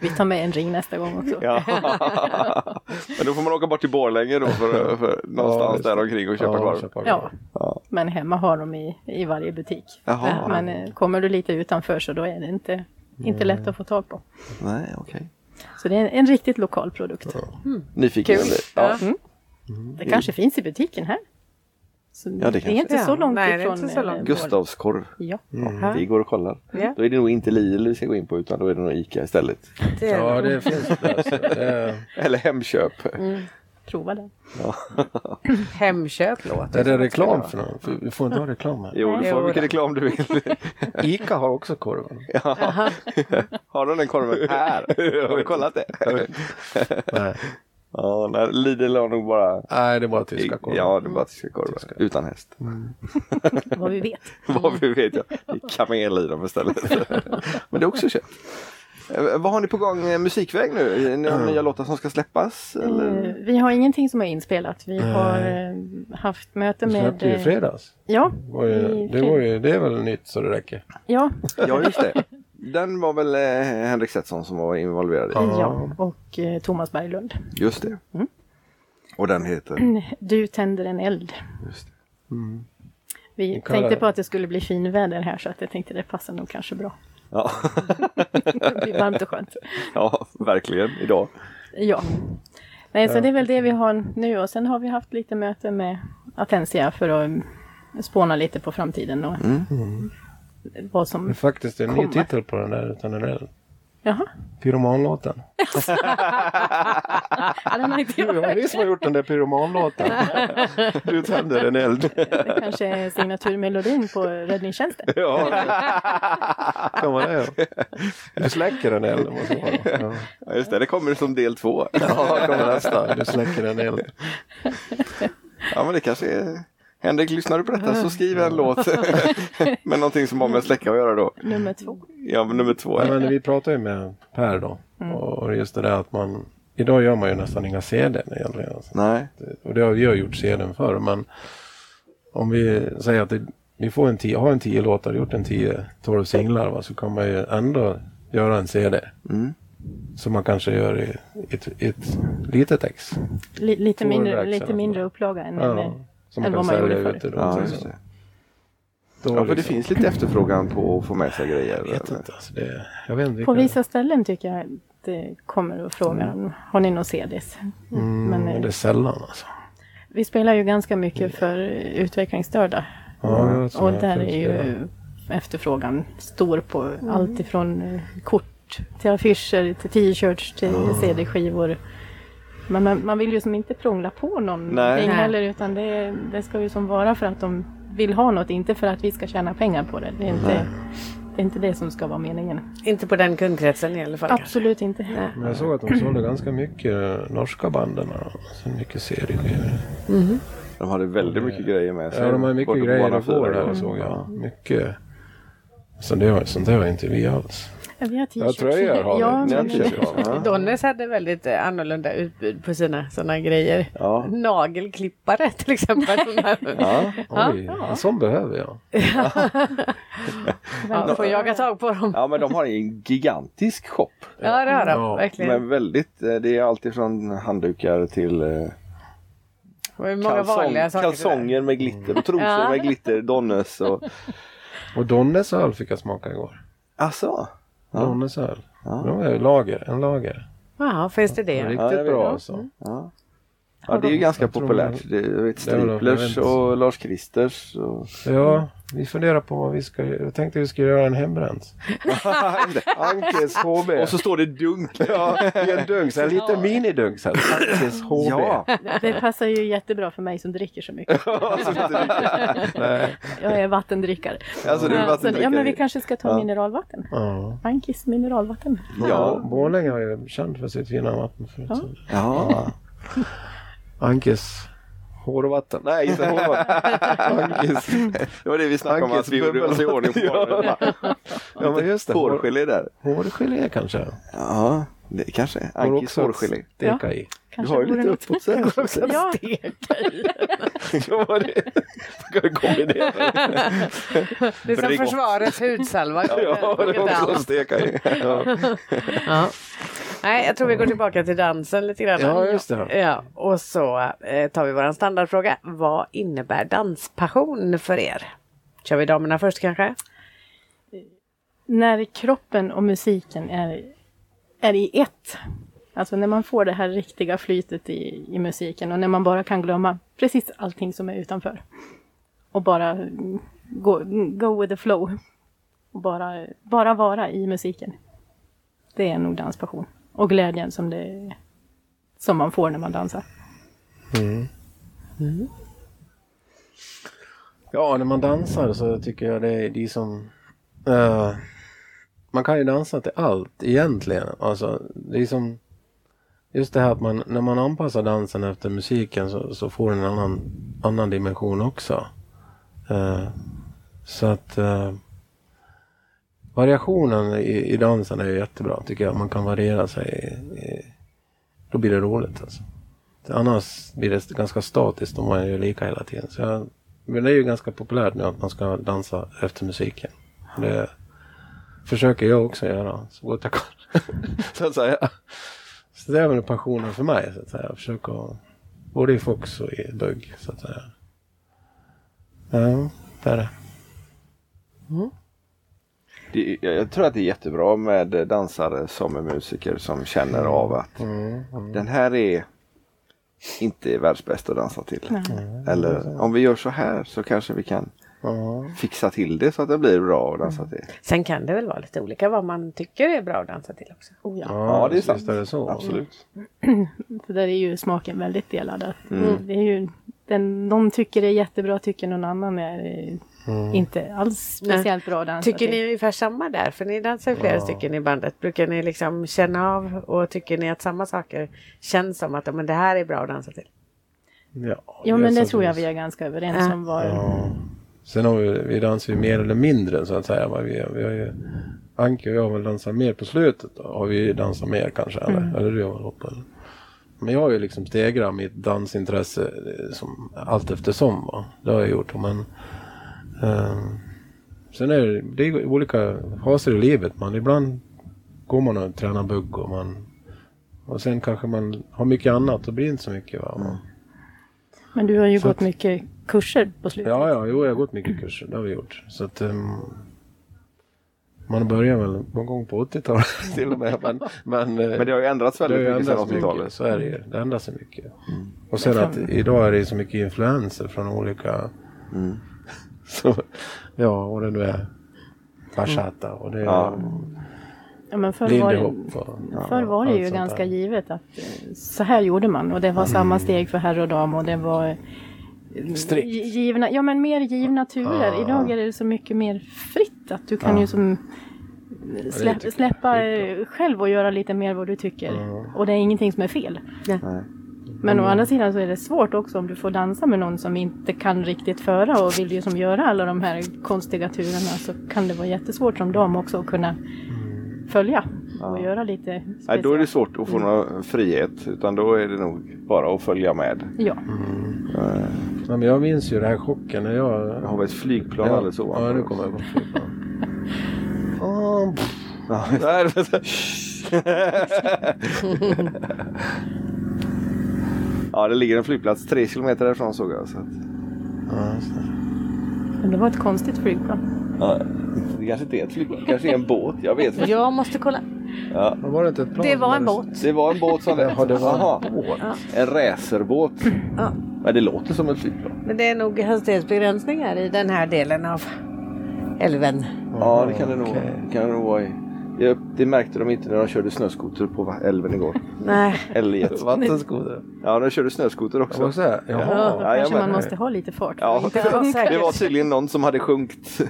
Speaker 3: Vi tar med en ring nästa gång också.
Speaker 1: Ja. Men då får man åka bort till Borlänge då för, för någonstans
Speaker 4: Ja,
Speaker 1: där omkring och köpa
Speaker 4: Ja,
Speaker 1: korv.
Speaker 4: köpa korv.
Speaker 3: Ja. Men hemma har de i, i varje butik.
Speaker 1: Jaha.
Speaker 3: Men eh, kommer du lite utanför så då är det inte, inte lätt att få tag på.
Speaker 1: Nej, okej.
Speaker 3: Så det är en, en riktigt lokal produkt.
Speaker 1: Nyfiken jag
Speaker 2: Kul. Mm.
Speaker 1: blir. Ja. Mm.
Speaker 3: Det kanske finns i butiken här. Så
Speaker 1: det
Speaker 3: det
Speaker 1: kanske.
Speaker 3: är inte så
Speaker 2: Ja,
Speaker 3: långt
Speaker 2: nej, det är
Speaker 3: ifrån.
Speaker 2: inte så
Speaker 3: eh,
Speaker 2: långt.
Speaker 1: Gustavskorv.
Speaker 3: vår- Ja.
Speaker 1: Vi går och kollar.
Speaker 2: Ja.
Speaker 1: Då är det nog inte Lidl vi ska gå in på utan då är det nog Ica istället.
Speaker 2: Det är
Speaker 4: Ja, det finns det. Så det är...
Speaker 1: Eller Hemköp.
Speaker 2: Mm.
Speaker 3: Prova den.
Speaker 2: Hemköp låter.
Speaker 4: Är det reklam för någon? För Vi får inte ha reklam här.
Speaker 1: Jo, du
Speaker 2: Nej,
Speaker 1: får
Speaker 2: jo
Speaker 1: vilken
Speaker 2: då.
Speaker 1: reklam du vill.
Speaker 4: Ica har också korven.
Speaker 1: Ja. Har de den korven här? Har du kollat det?
Speaker 4: Nej.
Speaker 1: Ja, nej, Lidl har nog bara...
Speaker 4: Nej, det är bara tyska korven.
Speaker 1: Ja, det är bara tyska korvar. Utan häst.
Speaker 3: Vad vi vet.
Speaker 1: Vad vi vet jag. Det är kamel i dem istället. Men det är också kött. Eh, Vad har ni på gång eh, musikväg nu? Ni har nya låtar som ska släppas? Eller?
Speaker 3: Eh, Vi har ingenting som är inspelat. Vi har eh, haft möte
Speaker 4: Du
Speaker 3: med...
Speaker 4: släppte ju i
Speaker 3: eh,
Speaker 4: fredags.
Speaker 3: Ja,
Speaker 4: Det var ju,
Speaker 3: i
Speaker 4: det, var ju, det är väl nytt så det räcker.
Speaker 3: ja,
Speaker 1: Ja, just det. Den var väl eh, Henrik Setson som var involverad i?
Speaker 3: ja. och eh, Thomas Berglund.
Speaker 1: Just det. Och den heter?
Speaker 3: Mm. Du tänder en eld.
Speaker 1: Just det.
Speaker 3: Vi
Speaker 4: kallar
Speaker 3: tänkte
Speaker 4: det.
Speaker 3: på att det skulle bli fin väder här så att jag tänkte det passar nog kanske bra.
Speaker 1: Ja.
Speaker 3: Det blir varmt och skönt.
Speaker 1: ja, verkligen idag.
Speaker 3: Ja. Nej, så det är väl det vi har nu och sen har vi haft lite möte med Atensia för att mm, spåna lite på framtiden och vad
Speaker 4: Det är
Speaker 3: som...
Speaker 4: faktiskt en ny
Speaker 3: Komma.
Speaker 4: titel på den där utan en eld.
Speaker 3: Jaha,
Speaker 4: Pyromanlåten.
Speaker 3: ja, den har inte
Speaker 4: Du,
Speaker 3: jag
Speaker 4: har
Speaker 3: hört.
Speaker 4: ni som har gjort den där pyromanlåten? Du tänder en eld.
Speaker 3: Det kanske är signaturmelodin på räddningstjänsten.
Speaker 4: Kan man det? ja. Du släcker en eld. Måste man. Ja.
Speaker 1: Ja, just det, det kommer som del två.
Speaker 4: Ja, kommer nästa. Du släcker en eld.
Speaker 1: Ja, men det kanske är... Henrik, lyssnar du på detta så skriv en låt med någonting som har med släcka att göra då.
Speaker 3: Nummer två.
Speaker 1: Ja, men nummer två.
Speaker 4: Ja,
Speaker 1: Ja.
Speaker 4: men vi pratade ju med Per då.
Speaker 3: Mm.
Speaker 4: Och just det där att man... Idag gör man ju nästan inga CDn egentligen. Alltså.
Speaker 1: Nej,
Speaker 4: Och det har vi har gjort CDn förr. Men om vi säger att det, vi får en tio, har en tio låtar, gjort en 10-12 singlar. Va, så kan man ju ändå göra en CD.
Speaker 1: Mm.
Speaker 4: Som man kanske gör i ett, ett litet ex.
Speaker 3: Li- lite, mindre,
Speaker 4: Tvåhundra
Speaker 3: lite
Speaker 4: axlar.
Speaker 3: mindre upplaga än
Speaker 4: Ja, som
Speaker 3: än
Speaker 4: man kan
Speaker 3: vad man gjorde
Speaker 4: sälja
Speaker 3: förr.
Speaker 4: ute då.
Speaker 1: ja,
Speaker 4: Så-
Speaker 1: just det.
Speaker 4: då
Speaker 1: Ja, för det
Speaker 4: liksom-
Speaker 1: finns lite efterfrågan på att få med sig grejer.
Speaker 4: Jag vet inte. Alltså det, Mm. jag vet inte
Speaker 3: På
Speaker 4: vilka-
Speaker 3: vissa ställen tycker jag att det kommer och frågar om har ni någon CDs?
Speaker 4: Mm,
Speaker 3: men,
Speaker 4: men,
Speaker 3: eh,
Speaker 4: det är sällan alltså.
Speaker 3: Vi spelar ju ganska
Speaker 4: Mm.
Speaker 3: mycket för eh, utvecklingsstörda
Speaker 4: Ja, jag vet
Speaker 3: och
Speaker 4: inte,
Speaker 3: där
Speaker 4: jag
Speaker 3: är
Speaker 4: tror
Speaker 3: ju efterfrågan stor på allt ifrån eh, kort till affischer till t-shirts till CD-skivor. Men man, man vill ju som inte prångla på någonting
Speaker 1: Nej.
Speaker 3: heller utan det, det ska ju som vara för att de vill ha något, inte för att vi ska tjäna pengar på det. Det är inte, det, är inte det som ska vara meningen.
Speaker 2: Inte på den kundkretsen i alla fall. kanske.
Speaker 3: Absolut inte.
Speaker 4: Men jag såg att de sålde ganska mycket norska banden. och Så mycket serieskivor.
Speaker 1: De hade väldigt mycket grejer med sig.
Speaker 4: Ja, de har mycket
Speaker 1: Både på
Speaker 4: grejer
Speaker 1: bana
Speaker 4: att
Speaker 1: fyra
Speaker 4: gå där
Speaker 1: och-
Speaker 4: såg jag. Mycket. Så det har, sånt där har inte vi alls.
Speaker 3: Ja, vi har
Speaker 4: Ja,
Speaker 3: t-shirts.
Speaker 4: tröjor har vi.
Speaker 3: ja,
Speaker 1: Ni har
Speaker 3: men,
Speaker 1: inte köpt dem, va?
Speaker 2: Donnes hade väldigt eh, annorlunda utbud på sina sådana grejer.
Speaker 1: Ja.
Speaker 2: Nagelklippare till exempel.
Speaker 1: Ja.
Speaker 4: Oj, en sån behöver jag.
Speaker 2: Man får jaga tag på dem.
Speaker 1: ja, men de har en gigantisk shop.
Speaker 2: Ja, det har
Speaker 4: Ja.
Speaker 2: de. Verkligen.
Speaker 1: Men väldigt, eh, det är allt från handdukar till eh,
Speaker 2: Det var ju många vanliga
Speaker 1: kalsong,
Speaker 2: saker. Mm.
Speaker 1: kalsonger med glitter och trosor
Speaker 2: Ja.
Speaker 1: med glitter, Donnes och...
Speaker 4: Och Donnes öl fick jag smaka igår.
Speaker 1: Alltså,
Speaker 4: Donnes öl. De är lager, en lager.
Speaker 2: Ja, finns det det?
Speaker 4: Riktigt
Speaker 1: Ja, jag vet.
Speaker 4: bra alltså.
Speaker 1: ja. Ja, det är ju ganska
Speaker 4: Jag tror
Speaker 1: populärt. Det är vet,
Speaker 4: Det är väl- jag vet
Speaker 1: Striplers
Speaker 4: inte.
Speaker 1: och Lars Kristers. Och...
Speaker 4: Ja, vi funderar på vad vi ska Jag tänkte vi skulle göra en hembränt. Ankes HB.
Speaker 1: och så står det dunk.
Speaker 4: Ja, i en dunk. Så här, lite
Speaker 3: Ja.
Speaker 4: minidunk. Så här. Ankes HB.
Speaker 1: Ja,
Speaker 3: det passar ju jättebra för mig som dricker så mycket.
Speaker 1: alltså, inte dricker.
Speaker 4: Nej.
Speaker 3: Jag är vattendrickare.
Speaker 1: alltså det är
Speaker 3: Ja, så,
Speaker 1: vattendrickare.
Speaker 3: ja, men vi kanske ska ta
Speaker 1: Ja.
Speaker 3: mineralvatten.
Speaker 4: Ja.
Speaker 3: Ankis mineralvatten.
Speaker 1: Ja.
Speaker 4: Borlänge har ju känt för sitt fina vatten förut.
Speaker 3: Ja.
Speaker 4: så.
Speaker 1: ja.
Speaker 4: Ankes hårvatten.
Speaker 1: Nej, inte hårvatten. Ankis. Det var det vi snackade om
Speaker 4: Ankis
Speaker 1: att vi gjorde oss i ordning på morgonen.
Speaker 4: Ja, men just det. Hår,
Speaker 1: Hårgelé där.
Speaker 4: hårgelé kanske.
Speaker 1: Ja, det kanske. är.
Speaker 4: Går
Speaker 1: Ankis
Speaker 4: också att
Speaker 1: hårgelé.
Speaker 4: Steka i.
Speaker 1: Du
Speaker 3: Kanske
Speaker 1: har ju
Speaker 3: vore
Speaker 1: lite
Speaker 3: något.
Speaker 1: uppåt sen.
Speaker 3: Ja,
Speaker 1: Ja, vad det kan vi kombinera det.
Speaker 2: Det är som
Speaker 1: Brigott.
Speaker 2: försvarets hudsalva.
Speaker 1: Ja, det är också att steka i. Ja.
Speaker 2: Ja. Nej, jag tror vi går tillbaka till dansen lite grann.
Speaker 4: Ja, just det.
Speaker 2: Ja, och så eh, tar vi vår standardfråga. Vad innebär danspassion för er? Kör vi damerna först kanske?
Speaker 3: när kroppen och musiken är, är i ett. Alltså när man får det här riktiga flytet i, i musiken och när man bara kan glömma precis allting som är utanför. Och bara mm, gå, mm, go with the flow. Och bara, bara vara i musiken. Det är nog danspassion. Och glädjen som, det, som man får när man dansar.
Speaker 4: Ja, när man dansar så tycker jag det är de som... eh, man kan ju dansa till allt egentligen. Alltså, det är som... Just det här att man, när man anpassar dansen efter musiken så, så får den en annan, annan dimension också. Eh, så att... eh, variationen i, i dansen är ju jättebra tycker jag. Man kan variera sig. I, i, då blir det roligt alltså. Annars blir det ganska statiskt om man gör lika hela tiden. Så jag, men det är ju ganska populärt nu att man ska dansa efter musiken. Det försöker jag också göra så gott jag kan. så att säga. Så det är väl passionen för mig. Så att säga. Jag försöker, både i fox och i bugg. Så att säga. Ja, det är det.
Speaker 1: Det- Jag tror att det är jättebra med dansare som är musiker som känner av att den här är Mm. inte världsbäst att dansa till. Eller om vi gör så här så kanske vi kan
Speaker 4: Ja.
Speaker 1: fixa till det så att det blir bra att dansa till.
Speaker 2: Sen kan det väl vara lite olika vad man tycker är bra att dansa till också.
Speaker 3: Oh, ja.
Speaker 1: Ja, det är
Speaker 4: visst
Speaker 1: sant.
Speaker 4: det så.
Speaker 1: Absolut.
Speaker 3: För där är ju smaken väldigt delad. Att
Speaker 4: Mm.
Speaker 3: Det är ju, den, någon tycker det är jättebra, tycker någon annan är
Speaker 4: Mm.
Speaker 3: eh, inte alls speciellt bra att dansa
Speaker 2: Tycker ni
Speaker 3: till.
Speaker 2: ungefär samma där? För ni dansar ju flera stycken i bandet. Brukar ni liksom känna av och tycker ni att samma saker känns som att "Ja, men det här är bra att dansa till?
Speaker 4: Ja,
Speaker 3: Jo, men det tror jag
Speaker 4: vi
Speaker 3: vi är ganska överens
Speaker 2: Ja.
Speaker 3: om. Var,
Speaker 4: Ja. Sen har vi, vi dansar ju mer eller mindre så att säga. Men vi, vi har ju, Anke och jag har väl dansat mer på slutet. Då. Har vi dansat mer kanske. Eller, eller du har väl hoppat. eller? Men jag har ju liksom stegrat mitt dansintresse eh, som, allt eftersom. Va? Det har jag gjort. Men, eh, sen är det, det är olika faser i livet. Man, ibland går man och tränar bugg. Och, man, och sen kanske man har mycket annat. Då blir det inte så mycket. Va? Och-
Speaker 3: men du har ju
Speaker 4: Så
Speaker 3: gått
Speaker 4: att-
Speaker 3: mycket kurser på slutet.
Speaker 4: Ja, ja, jo, jag har gått mycket kurser. Det har vi gjort. Så att, ehm, man börjar väl någon gång på 80-talet till och med. Men, men, eh,
Speaker 1: Men det har ju ändrats
Speaker 4: det har
Speaker 1: väldigt
Speaker 4: ju
Speaker 1: mycket sedan Mm.
Speaker 4: ändrats
Speaker 1: 80-talet.
Speaker 4: mycket. Så är det ju. Det ändras ju mycket. Och sen att idag är det ju så mycket influenser från olika...
Speaker 1: Mm.
Speaker 4: Så, ja, och det nu är bachata och det är
Speaker 1: Ja.
Speaker 3: Ja, men förr var det,
Speaker 4: lindyhop. och-
Speaker 3: förr var det
Speaker 4: allt
Speaker 3: ju
Speaker 4: sånt
Speaker 3: ganska
Speaker 4: där.
Speaker 3: givet att eh, så här gjorde man och det var samma steg för herr och dam och det var eh,
Speaker 4: Strikt.
Speaker 3: gi- givna, ja men mer givna turer.
Speaker 4: Ja.
Speaker 3: Idag är det så mycket mer fritt att du kan ju som
Speaker 4: tycker jag är
Speaker 3: släpp, släppa
Speaker 4: skitbra.
Speaker 3: eh, själv och göra lite mer vad du tycker. Och det är ingenting som är fel.
Speaker 1: Nej.
Speaker 3: Men å andra sidan så är det svårt också om du får dansa med någon som inte kan riktigt föra och vill ju som göra alla de här konstiga turerna så kan det vara jättesvårt som dam också att kunna följa och göra lite speciellt.
Speaker 1: Nej, då är det svårt att få någon frihet utan då är det nog bara att följa med.
Speaker 3: Ja,
Speaker 4: Ja, men jag minns ju den här chocken när jag...
Speaker 1: Jag har vi ett flygplan
Speaker 4: ja,
Speaker 1: alldeles ovanför?
Speaker 4: Ja, nu kommer jag på flygplan. Ah, pff.
Speaker 1: Ja, där. ja, det ligger en flygplats tre kilometer därifrån såg jag. Så att,
Speaker 4: Ja, just det.
Speaker 3: men det var ett konstigt flygplan.
Speaker 1: ja, det kanske inte är ett flygplan, det kanske är en båt. Jag vet inte.
Speaker 2: Jag måste kolla.
Speaker 4: Men var det inte ett plan?
Speaker 2: Det var en
Speaker 4: Eller-
Speaker 2: båt.
Speaker 1: Det var en båt som
Speaker 4: Ja, det
Speaker 1: Jaha,
Speaker 4: var en båt.
Speaker 1: en racerbåt.
Speaker 2: Ja.
Speaker 1: Men det låter som ett flygplan.
Speaker 2: Men det är nog hastighetsbegränsningar i den här delen av älven.
Speaker 1: Ja, det kan det nog,
Speaker 4: Ah, Okej.
Speaker 1: det kan det nog vara. i. Det, det märkte de inte när de körde snöskoter på va- älven igår.
Speaker 2: Nej.
Speaker 1: Eller i ett-
Speaker 4: Vattenskoter.
Speaker 1: Ja, de körde snöskoter
Speaker 4: Det var
Speaker 1: också.
Speaker 4: så här.
Speaker 3: Ja,
Speaker 4: Jaha.
Speaker 3: då
Speaker 1: jajamän.
Speaker 3: kanske man måste ha lite fart. för
Speaker 1: Ja,
Speaker 3: att inte sjunka.
Speaker 1: det var tydligen någon som hade sjunkit.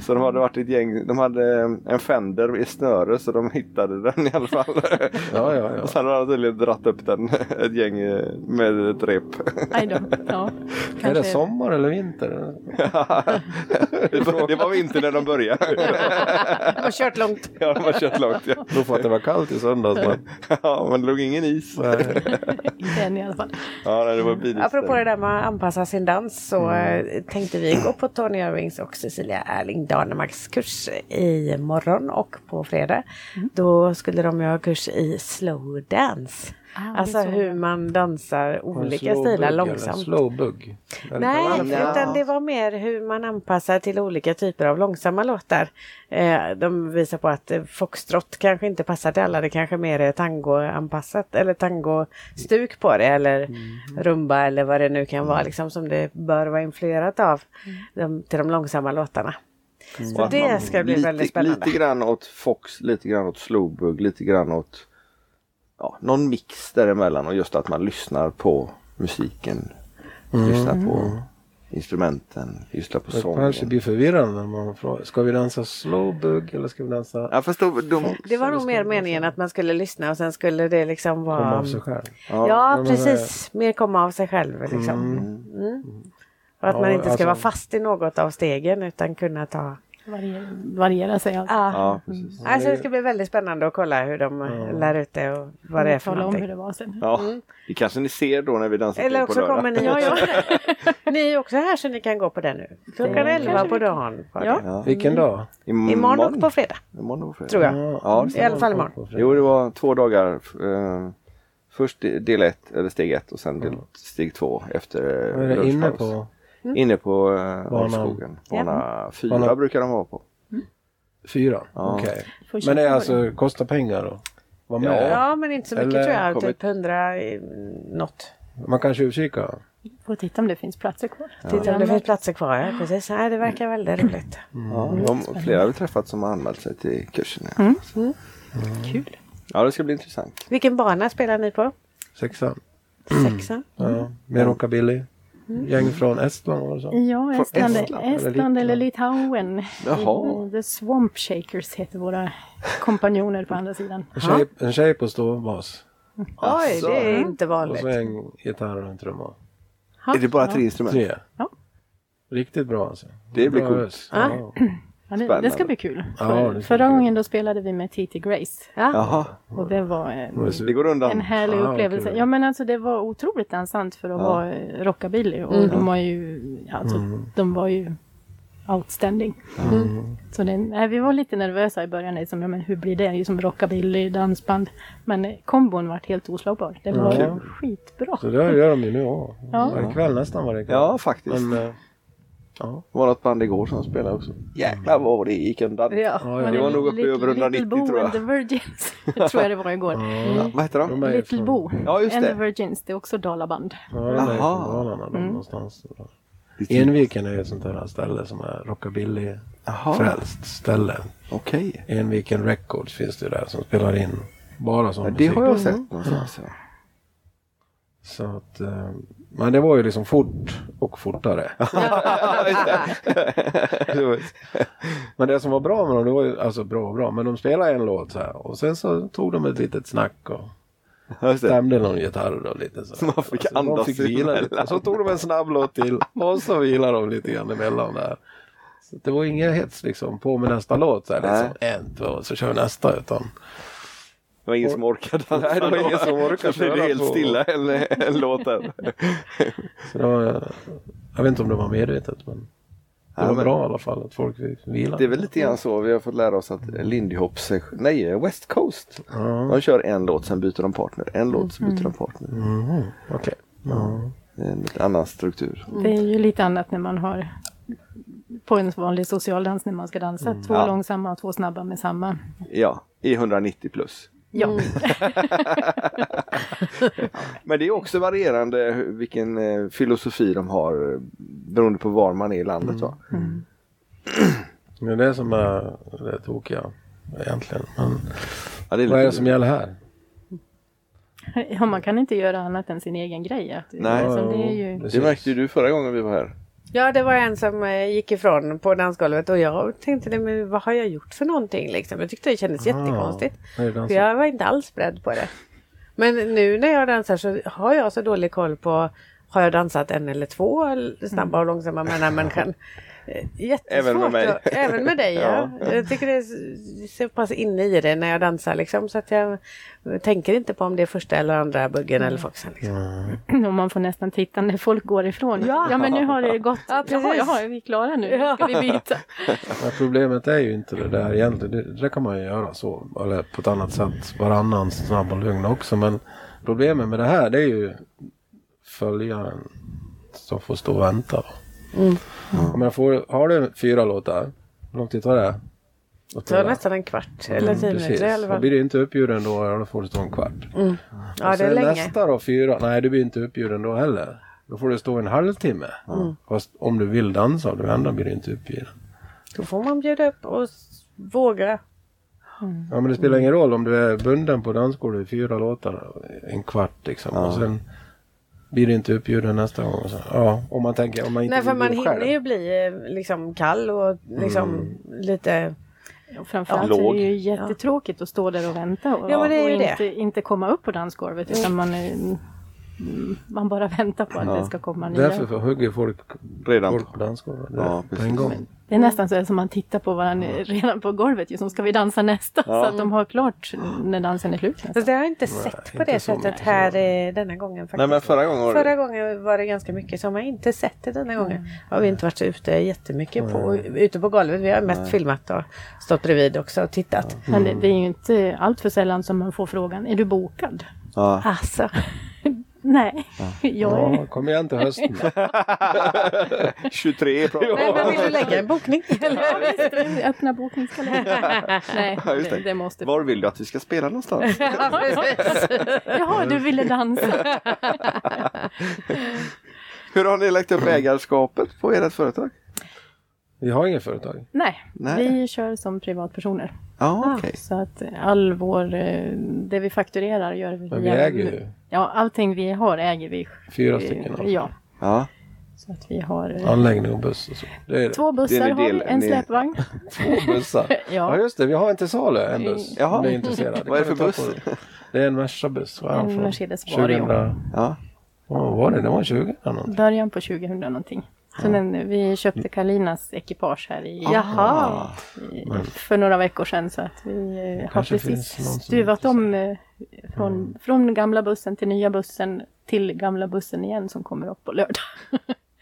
Speaker 1: Så de hade varit ett gäng. De hade eh, en fender i snöre så de hittade den i alla fall.
Speaker 4: Ja, ja, ja.
Speaker 1: Och sen hade de tydligen dratt upp den ett gäng eh, med ett rep.
Speaker 3: Aj då. Ja,
Speaker 4: Är
Speaker 3: kanske-
Speaker 4: det sommar eller vinter?
Speaker 1: Det var vinter när de började.
Speaker 2: Jag har kört långt.
Speaker 1: Ja, de har kört långt. Ja,
Speaker 4: Då för att det var kallt i söndags. Men...
Speaker 1: ja men det låg ingen is.
Speaker 4: Nej.
Speaker 3: Inte än i alla fall.
Speaker 1: Ja, nej, det var billigt.
Speaker 2: Apropå det där med att anpassa sin dans så eh, tänkte vi gå på Tony Irvings och Cecilia Erling Danemarks kurs i morgon och på fredag. Då skulle de ju ha kurs i slow dance. alltså hur man dansar olika
Speaker 4: Slow bug
Speaker 2: stilar
Speaker 4: eller
Speaker 2: långsamt.
Speaker 4: Slow bug. Eller
Speaker 2: Nej,
Speaker 4: kan man-
Speaker 2: utan det var mer hur man anpassar till olika typer av långsamma låtar. Eh, de visar på att eh, foxtrot kanske inte passar till alla. Det kanske mer är tangoanpassat eller tangostuk på det eller
Speaker 4: Mm.
Speaker 2: rumba eller vad det nu kan vara liksom som det bör vara influerat av
Speaker 4: Mm.
Speaker 2: de, till de långsamma låtarna.
Speaker 1: Och
Speaker 2: Så
Speaker 1: att
Speaker 2: det
Speaker 1: man
Speaker 2: ska bli
Speaker 1: Mm. lite,
Speaker 2: väldigt spännande.
Speaker 1: Lite grann åt Fox, lite grann åt Slowbug, lite grann åt ja, någon mix däremellan och just att man lyssnar på musiken.
Speaker 4: Mm.
Speaker 1: Lyssnar på instrumenten, lyssnar på
Speaker 4: Det kanske
Speaker 1: sången.
Speaker 4: blir förvirrande när man frågar. Ska vi dansa slow bug eller ska vi dansa
Speaker 1: Ja, fast då, de,
Speaker 2: Det var nog mer meningen att man skulle lyssna och sen skulle det liksom vara...
Speaker 4: komma av sig själv?
Speaker 2: Ja,
Speaker 4: men eh, det-
Speaker 2: precis. Mer komma av sig själv liksom. Mm. Och att
Speaker 4: Ja,
Speaker 2: man inte ska
Speaker 4: alltså-
Speaker 2: vara fast i något av stegen utan kunna ta...
Speaker 3: Variera, variera sig allt.
Speaker 2: Ja.
Speaker 1: ja, precis.
Speaker 2: Alltså det ska bli väldigt spännande att kolla hur de eh, lär ut det och vad det är för
Speaker 3: Tala Mm, om hur
Speaker 2: någonting.
Speaker 3: det var sen.
Speaker 1: Ja, det kanske ni ser då när vi dansar
Speaker 2: Mm.
Speaker 1: till
Speaker 2: Eller
Speaker 1: på
Speaker 2: också
Speaker 1: lördag.
Speaker 2: kommer ni... Ja, Ni är också här så ni kan gå på det nu. Klockan
Speaker 4: Mm.
Speaker 2: 11 på dagen. På
Speaker 3: Ja.
Speaker 2: det.
Speaker 4: Vilken dag?
Speaker 2: Imorgon och på fredag,
Speaker 1: Imorgon och på fredag.
Speaker 2: tror jag.
Speaker 1: Ja, det
Speaker 2: I alla fall imorgon.
Speaker 1: Jo, det var två dagar. Eh, först del ett, eller steg ett och sen del, steg två efter eh,
Speaker 4: Vad är det inne
Speaker 1: lunchpaus.
Speaker 4: på?
Speaker 3: Mm.
Speaker 1: Inne på eh,
Speaker 4: Bana-
Speaker 1: Alskogen. Bana fyra
Speaker 4: Bana-
Speaker 1: brukar de vara på.
Speaker 4: Fyra?
Speaker 1: Ja.
Speaker 4: Okej.
Speaker 3: Får köpa
Speaker 4: Men det är
Speaker 3: det.
Speaker 4: alltså, kostar pengar då? Var med.
Speaker 2: Ja, men inte så mycket
Speaker 4: Eller
Speaker 2: tror jag.
Speaker 1: kommer-
Speaker 2: Typ 100 i- något.
Speaker 4: Man kan tjuvkika?
Speaker 3: Får titta om det finns platser kvar.
Speaker 2: Titta om det finns platser kvar. Ja, precis. Nej, det verkar väldigt roligt.
Speaker 4: Mm.
Speaker 1: Ja, de, flera har vi träffat som har anmält sig till kursen.
Speaker 3: Mm.
Speaker 1: Ja.
Speaker 3: Kul.
Speaker 1: ja, det ska bli intressant.
Speaker 2: Vilken bana spelar ni på?
Speaker 4: Mm. Sexan.
Speaker 2: Sexan?
Speaker 4: Ja, med Mm. rockabilly.
Speaker 1: Mm.
Speaker 4: Gäng från Estland var det så?
Speaker 3: Ja, Estland,
Speaker 1: Estland
Speaker 3: Estland,
Speaker 4: eller
Speaker 3: eller Litauen.
Speaker 1: Jaha.
Speaker 3: The Swamp Shakers heter våra kompanjoner på andra sidan.
Speaker 4: En tjej, en tjej på ståbas.
Speaker 2: Oj,
Speaker 1: Asså.
Speaker 2: det är inte
Speaker 4: Alltså, Och
Speaker 2: vanligt.
Speaker 4: så en gitarr och en trumma.
Speaker 1: Är det bara
Speaker 3: Ja.
Speaker 1: tre instrument?
Speaker 4: Tre.
Speaker 3: Ja.
Speaker 4: Riktigt bra alltså.
Speaker 1: Det blir
Speaker 4: Bra
Speaker 1: coolt.
Speaker 4: ös. Ja.
Speaker 3: Ja, det,
Speaker 1: Spännande.
Speaker 3: det ska bli kul.
Speaker 4: Ja,
Speaker 3: För-
Speaker 4: det ska
Speaker 3: Förra
Speaker 4: bli kul.
Speaker 3: gången då spelade vi med T.T. Grace
Speaker 2: Ja.
Speaker 1: Jaha,
Speaker 3: och det var en,
Speaker 1: det går
Speaker 3: en
Speaker 1: undan.
Speaker 3: härlig
Speaker 4: Fan,
Speaker 3: upplevelse.
Speaker 4: kul.
Speaker 3: Ja men alltså det var otroligt dansant för att
Speaker 1: Ah, Ja. Mm.
Speaker 3: vara eh, rockabilly och de var ju, ja, alltså, de var ju outstanding. Så det, nej, vi var lite nervösa i början, liksom, ja, men hur blir det? Ju som rockabilly, dansband. Men eh, kombon vart helt oslagbar. Det var
Speaker 1: Mm.
Speaker 4: Ja.
Speaker 3: skitbra.
Speaker 4: Så det gör de ju nu också.
Speaker 3: Ja.
Speaker 4: Varje kväll nästan varje kväll.
Speaker 1: Ja, faktiskt.
Speaker 4: Men, eh, ja.
Speaker 1: Det var något band igår som spelade också. Jäklar vad det gick undan.
Speaker 3: Ja,
Speaker 4: ja.
Speaker 3: men
Speaker 4: Det
Speaker 1: var nog uppe i
Speaker 3: Little-
Speaker 1: över 190,
Speaker 3: Little Bo
Speaker 1: tror jag.
Speaker 3: and the Virgins. Det tror jag det var igår.
Speaker 1: Ja, vad heter de?
Speaker 4: De är ju
Speaker 3: Little
Speaker 4: från-
Speaker 3: Bo
Speaker 1: Ja, just
Speaker 3: and
Speaker 1: det.
Speaker 3: the Virgins. Det är också dalaband.
Speaker 4: Ja, de är ju
Speaker 1: Aha. Mm.
Speaker 4: från Dalarna de någonstans. Enviken är ju ett sånt där ställe som är rockabilly-frälst
Speaker 1: Jaha,
Speaker 4: ställe.
Speaker 1: okej.
Speaker 4: Enviken Records finns det ju där som spelar in bara sån
Speaker 1: Ja, det
Speaker 4: musik.
Speaker 1: har jag sett någonstans. ja.
Speaker 4: Så att, eh, men det var ju liksom fort och fortare.
Speaker 1: Ja, just det.
Speaker 4: Men det som var bra med dem, det var ju alltså bra och bra, men de spelade en låt så här och sen så tog de ett litet snack och
Speaker 1: Just det.
Speaker 4: stämde någon gitarr då lite så.
Speaker 1: Man fick
Speaker 4: så de
Speaker 1: andas
Speaker 4: fick vila lite.
Speaker 1: emellan.
Speaker 4: Och så tog de en snabb låt till och så vilade de lite grann emellan där. Så det var ingen hets liksom, på med nästa låt så här,
Speaker 1: Nej.
Speaker 4: liksom, en, två, så kör vi nästa utan.
Speaker 1: Det var ingen som orkade dansa.
Speaker 4: Nej, det var ingen som orkade
Speaker 1: Så blev det
Speaker 4: köra
Speaker 1: helt
Speaker 4: på.
Speaker 1: stilla en, en låt där.
Speaker 4: Så det var, jag vet inte om det var medvetet men det
Speaker 1: Ja,
Speaker 4: var
Speaker 1: men-
Speaker 4: bra i alla fall att folk fick vila.
Speaker 1: Det är väl lite grann så vi har fått lära oss att Lindy Hop, nej West Coast.
Speaker 4: Ja,
Speaker 1: De kör en låt, sen byter de partner. En låt, sen byter de partner.
Speaker 4: mhm, okej. Ja.
Speaker 1: Det är En lite annan struktur.
Speaker 3: Det
Speaker 2: Mm.
Speaker 3: är ju lite annat när man har på en vanlig socialdans när man ska dansa.
Speaker 2: Mm.
Speaker 3: Två
Speaker 1: Ja.
Speaker 3: långsamma och två snabba med samma.
Speaker 1: Ja, i 190 plus.
Speaker 3: Ja,
Speaker 2: Mm.
Speaker 1: Men det är också varierande hur- vilken eh, filosofi de har eh, beroende på var man är i landet. Va?
Speaker 4: Mm. Det är det som är det tokiga egentligen. Men
Speaker 1: Ja, det är
Speaker 4: vad är
Speaker 1: lite
Speaker 4: det som gäller här?
Speaker 3: ja man kan inte göra annat än sin egen grej. Att-
Speaker 1: Nej.
Speaker 3: Alltså, det är
Speaker 4: Ja,
Speaker 3: ju...
Speaker 1: det
Speaker 4: precis.
Speaker 1: märkte ju du förra gången vi var här.
Speaker 2: ja, det var en som eh, gick ifrån på dansgolvet och jag tänkte, nej, men vad har jag gjort för någonting liksom? Jag tyckte det kändes jättekonstigt.
Speaker 4: Ah, är det den
Speaker 2: För
Speaker 4: som-
Speaker 2: jag var inte alls beredd på det. Men nu när jag dansar så har jag så dålig koll på har jag dansat en eller två snabba och långsamma med den här människan? Eh, Jättesvårt.
Speaker 1: Även med mig.
Speaker 2: att- även med dig ja. Jag tycker det är s- så pass inne i det när jag dansar liksom så att jag tänker inte på om det är första eller andra buggen eller foxen. Liksom.
Speaker 3: Och man får nästan titta när folk går ifrån.
Speaker 2: Ja.
Speaker 3: men nu har det gått.
Speaker 2: Ja,
Speaker 3: Ja,
Speaker 2: precis.
Speaker 3: jaha, jaha, är vi klara nu? Ska vi byta?
Speaker 4: Men problemet är ju inte det där egentligen. Det, det kan man ju göra så. Eller på ett annat sätt. Varannan snabb och lugn också. Men problemet med det här det är ju följaren som får stå och vänta.
Speaker 2: Mm.
Speaker 4: Om jag får, har du fyra låtar, hur lång tid tar det? Att
Speaker 2: Så det var
Speaker 4: spela? Mm,
Speaker 2: nästan en kvart eller tio
Speaker 4: Precis.
Speaker 2: minuter i alla
Speaker 4: Då
Speaker 2: fall.
Speaker 4: blir du inte uppbjuden då, då får du stå en kvart.
Speaker 2: Ja
Speaker 4: Och
Speaker 2: det är
Speaker 4: sen
Speaker 2: länge.
Speaker 4: nästa då, fyra, nej du blir inte uppbjuden då heller. Då får du stå en halvtimme.
Speaker 2: Mm.
Speaker 4: Fast om du vill dansa av de andra blir du inte uppbjuden.
Speaker 2: Då får man bjuda upp och s- våga.
Speaker 4: Ja men det spelar ingen roll om du är bunden på dansgolvet i fyra låtar en kvart liksom. Och sen blir du inte uppbjuden nästa gång. Och så, ja, om man tänker, om man inte
Speaker 2: Nej för
Speaker 4: vill
Speaker 2: man
Speaker 4: bli själv. Mm.
Speaker 2: hinner ju bli eh, liksom kall och liksom lite
Speaker 3: Och Framförallt
Speaker 1: Ja.
Speaker 3: är det ju
Speaker 1: Låg.
Speaker 3: jättetråkigt att stå där och vänta och,
Speaker 2: Ja, men det är
Speaker 3: och
Speaker 2: ju det.
Speaker 3: inte, inte komma upp på dansgolvet utan man, är- mm, man bara väntar på att det ska komma nya.
Speaker 4: Därför hugger folk,
Speaker 1: Redan
Speaker 4: folk
Speaker 1: på.
Speaker 4: på dansgolvet.
Speaker 1: Ja,
Speaker 4: på en
Speaker 1: precis.
Speaker 4: gång.
Speaker 3: Det är nästan så här som man tittar på varandra redan på golvet ju, som ska vi dansa nästa? Så att de har klart när dansen är slut.
Speaker 2: Fast det har jag inte sett på
Speaker 4: inte
Speaker 2: det
Speaker 4: så
Speaker 2: sättet
Speaker 4: mycket.
Speaker 2: här eh, denna gången. Faktiskt.
Speaker 1: Nej men förra gången var det...
Speaker 2: Förra gången var det ganska mycket som jag inte sett det denna
Speaker 4: Mm.
Speaker 2: gången. Har vi inte varit ute jättemycket på, ute på golvet. Vi har mest filmat och stått bredvid också och tittat.
Speaker 3: Men det, det är ju inte allt för sällan som man får frågan, är du bokad?
Speaker 1: Ja.
Speaker 2: Alltså,
Speaker 3: Nej, jag är...
Speaker 4: Ja, kom igen till hösten.
Speaker 1: 23 pratar
Speaker 2: nej, men vill du lägga en bokning? Eller?
Speaker 3: Öppna bokningskalendern. Nej,
Speaker 1: Ja, just
Speaker 3: det, det måste...
Speaker 1: Var vill du att vi ska spela någonstans?
Speaker 2: Ja, precis.
Speaker 3: Jaha, du ville dansa.
Speaker 1: Hur har ni lagt upp ägarskapet på ert företag?
Speaker 4: Vi har inget företag.
Speaker 3: Nej,
Speaker 1: Nej.
Speaker 3: vi kör som privatpersoner.
Speaker 1: Ja, okej.
Speaker 3: Så att all vår, eh, det vi fakturerar gör vi
Speaker 4: Men vi
Speaker 3: via-
Speaker 4: äger ju
Speaker 3: Ja, allting vi har äger vi.
Speaker 4: fyra stycken alltså. av
Speaker 3: Ja,
Speaker 1: Ja.
Speaker 3: så att vi har eh,
Speaker 4: anläggning och buss och så. Det är det.
Speaker 3: två bussar
Speaker 1: Det är
Speaker 3: har vi,
Speaker 1: del-
Speaker 3: en
Speaker 1: ni-
Speaker 3: släpvagn.
Speaker 4: Två bussar. ja.
Speaker 3: Ja,
Speaker 4: just det, vi har en till salu, en buss.
Speaker 1: Jaha.
Speaker 4: Om ni är intresserade.
Speaker 1: Vad är det
Speaker 4: kan
Speaker 1: för
Speaker 4: vi ta på- Det är en Merca-buss. Vad är den
Speaker 3: En
Speaker 4: från?
Speaker 3: Mercedes
Speaker 4: 2000...
Speaker 3: Vario.
Speaker 1: ja.
Speaker 4: Vad var det? Det var 20 eller någonting.
Speaker 3: början på 2000 någonting. Så den, vi köpte Kalinas ekipage här i,
Speaker 2: Jaha.
Speaker 3: i, för några veckor sedan. Så att vi eh, har
Speaker 4: kanske
Speaker 3: precis
Speaker 4: finns någon som
Speaker 3: stuvat
Speaker 4: är Mm.
Speaker 3: om eh, från, från gamla bussen till nya bussen till gamla bussen igen som kommer upp på lördag.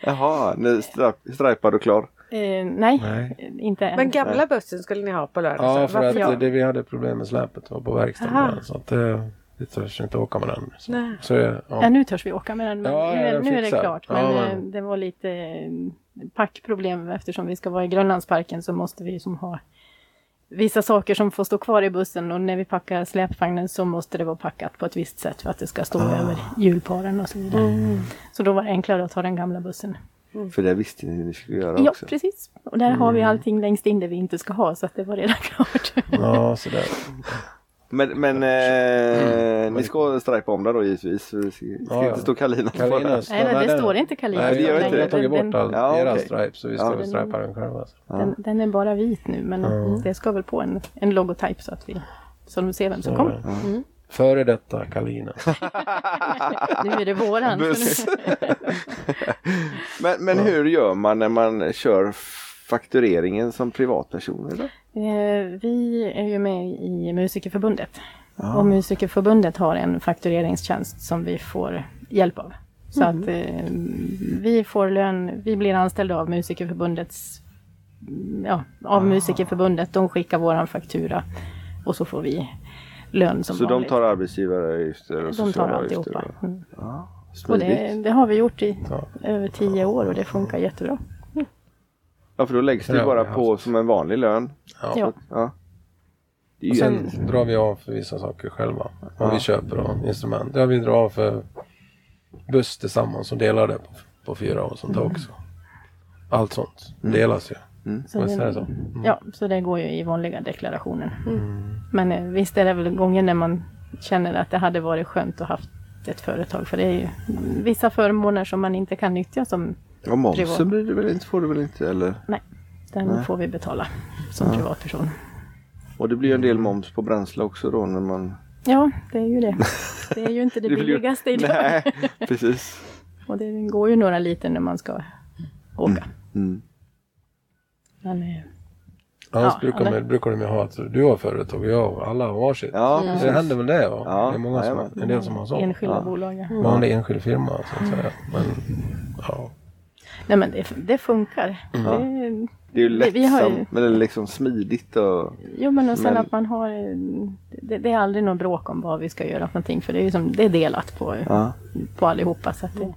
Speaker 1: Jaha, ni är stra- strajpad och klar.
Speaker 3: Eh, nej,
Speaker 4: Nej.
Speaker 3: eh, inte än.
Speaker 2: Men gamla bussen skulle ni ha på lördag?
Speaker 4: Ja,
Speaker 2: så
Speaker 4: för att
Speaker 2: varför-
Speaker 4: det, det vi hade problem med släpet var på verkstaden.
Speaker 2: Aha.
Speaker 4: där, Så att det, vi törs inte åka med den. Så,
Speaker 2: Nej.
Speaker 4: så ja.
Speaker 3: Ja, nu törs vi åka med den. Men
Speaker 4: Ja,
Speaker 3: nu,
Speaker 4: ja,
Speaker 3: är-
Speaker 4: den
Speaker 3: nu är det
Speaker 4: fixar.
Speaker 3: klart.
Speaker 4: Ja,
Speaker 3: Men
Speaker 4: men-
Speaker 3: eh, det var lite eh, packproblem eftersom vi ska vara i Grönlandsparken så måste vi ju som ha vissa saker som får stå kvar i bussen och när vi packar släpvagnen så måste det vara packat på ett visst sätt för att det ska stå
Speaker 4: Ah.
Speaker 3: över hjulparen och så vidare.
Speaker 4: Mm.
Speaker 3: Så då var det enklare att ta den gamla bussen.
Speaker 1: För det visste ni hur ni skulle göra
Speaker 3: Mm. Ja,
Speaker 1: också.
Speaker 3: precis. Och där har vi allting längst in det vi inte ska ha så att det var redan klart.
Speaker 4: Mm. ja, sådär.
Speaker 1: Men, men eh, ni ska strajpa om det då givetvis. för Det ska, det ska
Speaker 4: Ja, ja.
Speaker 1: inte stå Kalina på den.
Speaker 4: Kalinas,
Speaker 3: Nej, det står inte Kalina.
Speaker 4: Nej,
Speaker 1: det
Speaker 4: vi
Speaker 1: gör
Speaker 4: har
Speaker 1: inte det.
Speaker 4: inte tagit
Speaker 3: Den-
Speaker 4: bort all
Speaker 1: Ja,
Speaker 4: deras
Speaker 1: okej.
Speaker 4: stripe så vi ska
Speaker 1: Ja.
Speaker 4: väl stripa den själva. Så.
Speaker 3: Den, den är bara vit nu men det ska väl på en, en logotyp så att vi så Mm. de ser vem som kommer.
Speaker 4: Före detta Kalina.
Speaker 3: Nu är det våran.
Speaker 1: Buss. men, men hur gör man när man kör faktureringen som privatperson? Eller?
Speaker 3: Eh, Vi är ju med i Musikerförbundet. Och Musikerförbundet har en faktureringstjänst som vi får hjälp av. Så
Speaker 1: Mm.
Speaker 3: att eh, vi får lön, vi blir anställda av Musikerförbundets, ja, av
Speaker 1: Ah.
Speaker 3: Musikerförbundet. De skickar våran faktura och så får vi lön som
Speaker 1: Så de
Speaker 3: vanligt.
Speaker 1: tar arbetsgivaravgifter och
Speaker 3: de tar
Speaker 1: sociala avgifter?
Speaker 3: alltihopa.
Speaker 1: och-
Speaker 3: Mm. Och
Speaker 1: Smidigt.
Speaker 3: det, det har vi gjort i
Speaker 4: Ja.
Speaker 3: över tio år och det funkar jättebra.
Speaker 1: Ja, för då läggs det
Speaker 4: Ja,
Speaker 1: ju bara
Speaker 4: vi har
Speaker 1: på som en vanlig lön.
Speaker 4: Ja.
Speaker 3: Ja.
Speaker 1: Ja. Det är
Speaker 4: Och
Speaker 1: ju
Speaker 4: sen
Speaker 1: en...
Speaker 4: drar vi av för vissa saker själva. Vad vi köper och instrument. Ja, vi drar av för buss tillsammans och delar det på, på fyra och sånt där
Speaker 3: Mm.
Speaker 4: också. Allt sånt
Speaker 1: Mm.
Speaker 4: delas ju.
Speaker 3: Så
Speaker 4: Visst är det
Speaker 3: det,
Speaker 4: så?
Speaker 3: Ja, så det går ju i vanliga deklarationen. Men eh, visst är det väl gången när man känner att det hade varit skönt att haft ett företag. För det är ju vissa förmåner som man inte kan nyttja som
Speaker 1: Ja,
Speaker 3: privat.
Speaker 1: momsen blir det väl inte, får du väl inte? Eller?
Speaker 3: Nej, den får vi betala som privatperson.
Speaker 1: Och det blir ju en
Speaker 3: Mm.
Speaker 1: del moms på bränsle också då när man...
Speaker 3: Ja, det är ju det. Det är ju inte det
Speaker 1: Det blir ju-
Speaker 3: billigaste idag.
Speaker 1: Nej, precis.
Speaker 3: Och det går ju några liter när man ska åka.
Speaker 1: Mm.
Speaker 3: Men, eh,
Speaker 4: Annars
Speaker 3: Ja,
Speaker 4: brukar,
Speaker 3: eller-
Speaker 4: de, brukar de ju ha att du har företag och jag och alla har varsitt.
Speaker 1: Ja,
Speaker 4: Det
Speaker 1: precis.
Speaker 4: händer väl det? Va?
Speaker 1: Ja,
Speaker 4: det är många som,
Speaker 1: jajamän.
Speaker 4: en del som har så.
Speaker 3: enskilda bolag. ja.
Speaker 4: Man har en enskild firma så att säga. Men, ja.
Speaker 3: Nej men det, det funkar. Det,
Speaker 1: Det är ju
Speaker 3: Vi- vi har ju-
Speaker 1: lättsamt, eller liksom smidigt och...
Speaker 3: Jo men och sen
Speaker 1: Men-
Speaker 3: att man har eh, det, det är aldrig något bråk om vad vi ska göra för någonting för det är ju som, det är delat på,
Speaker 1: Ja.
Speaker 3: på allihopa så att det,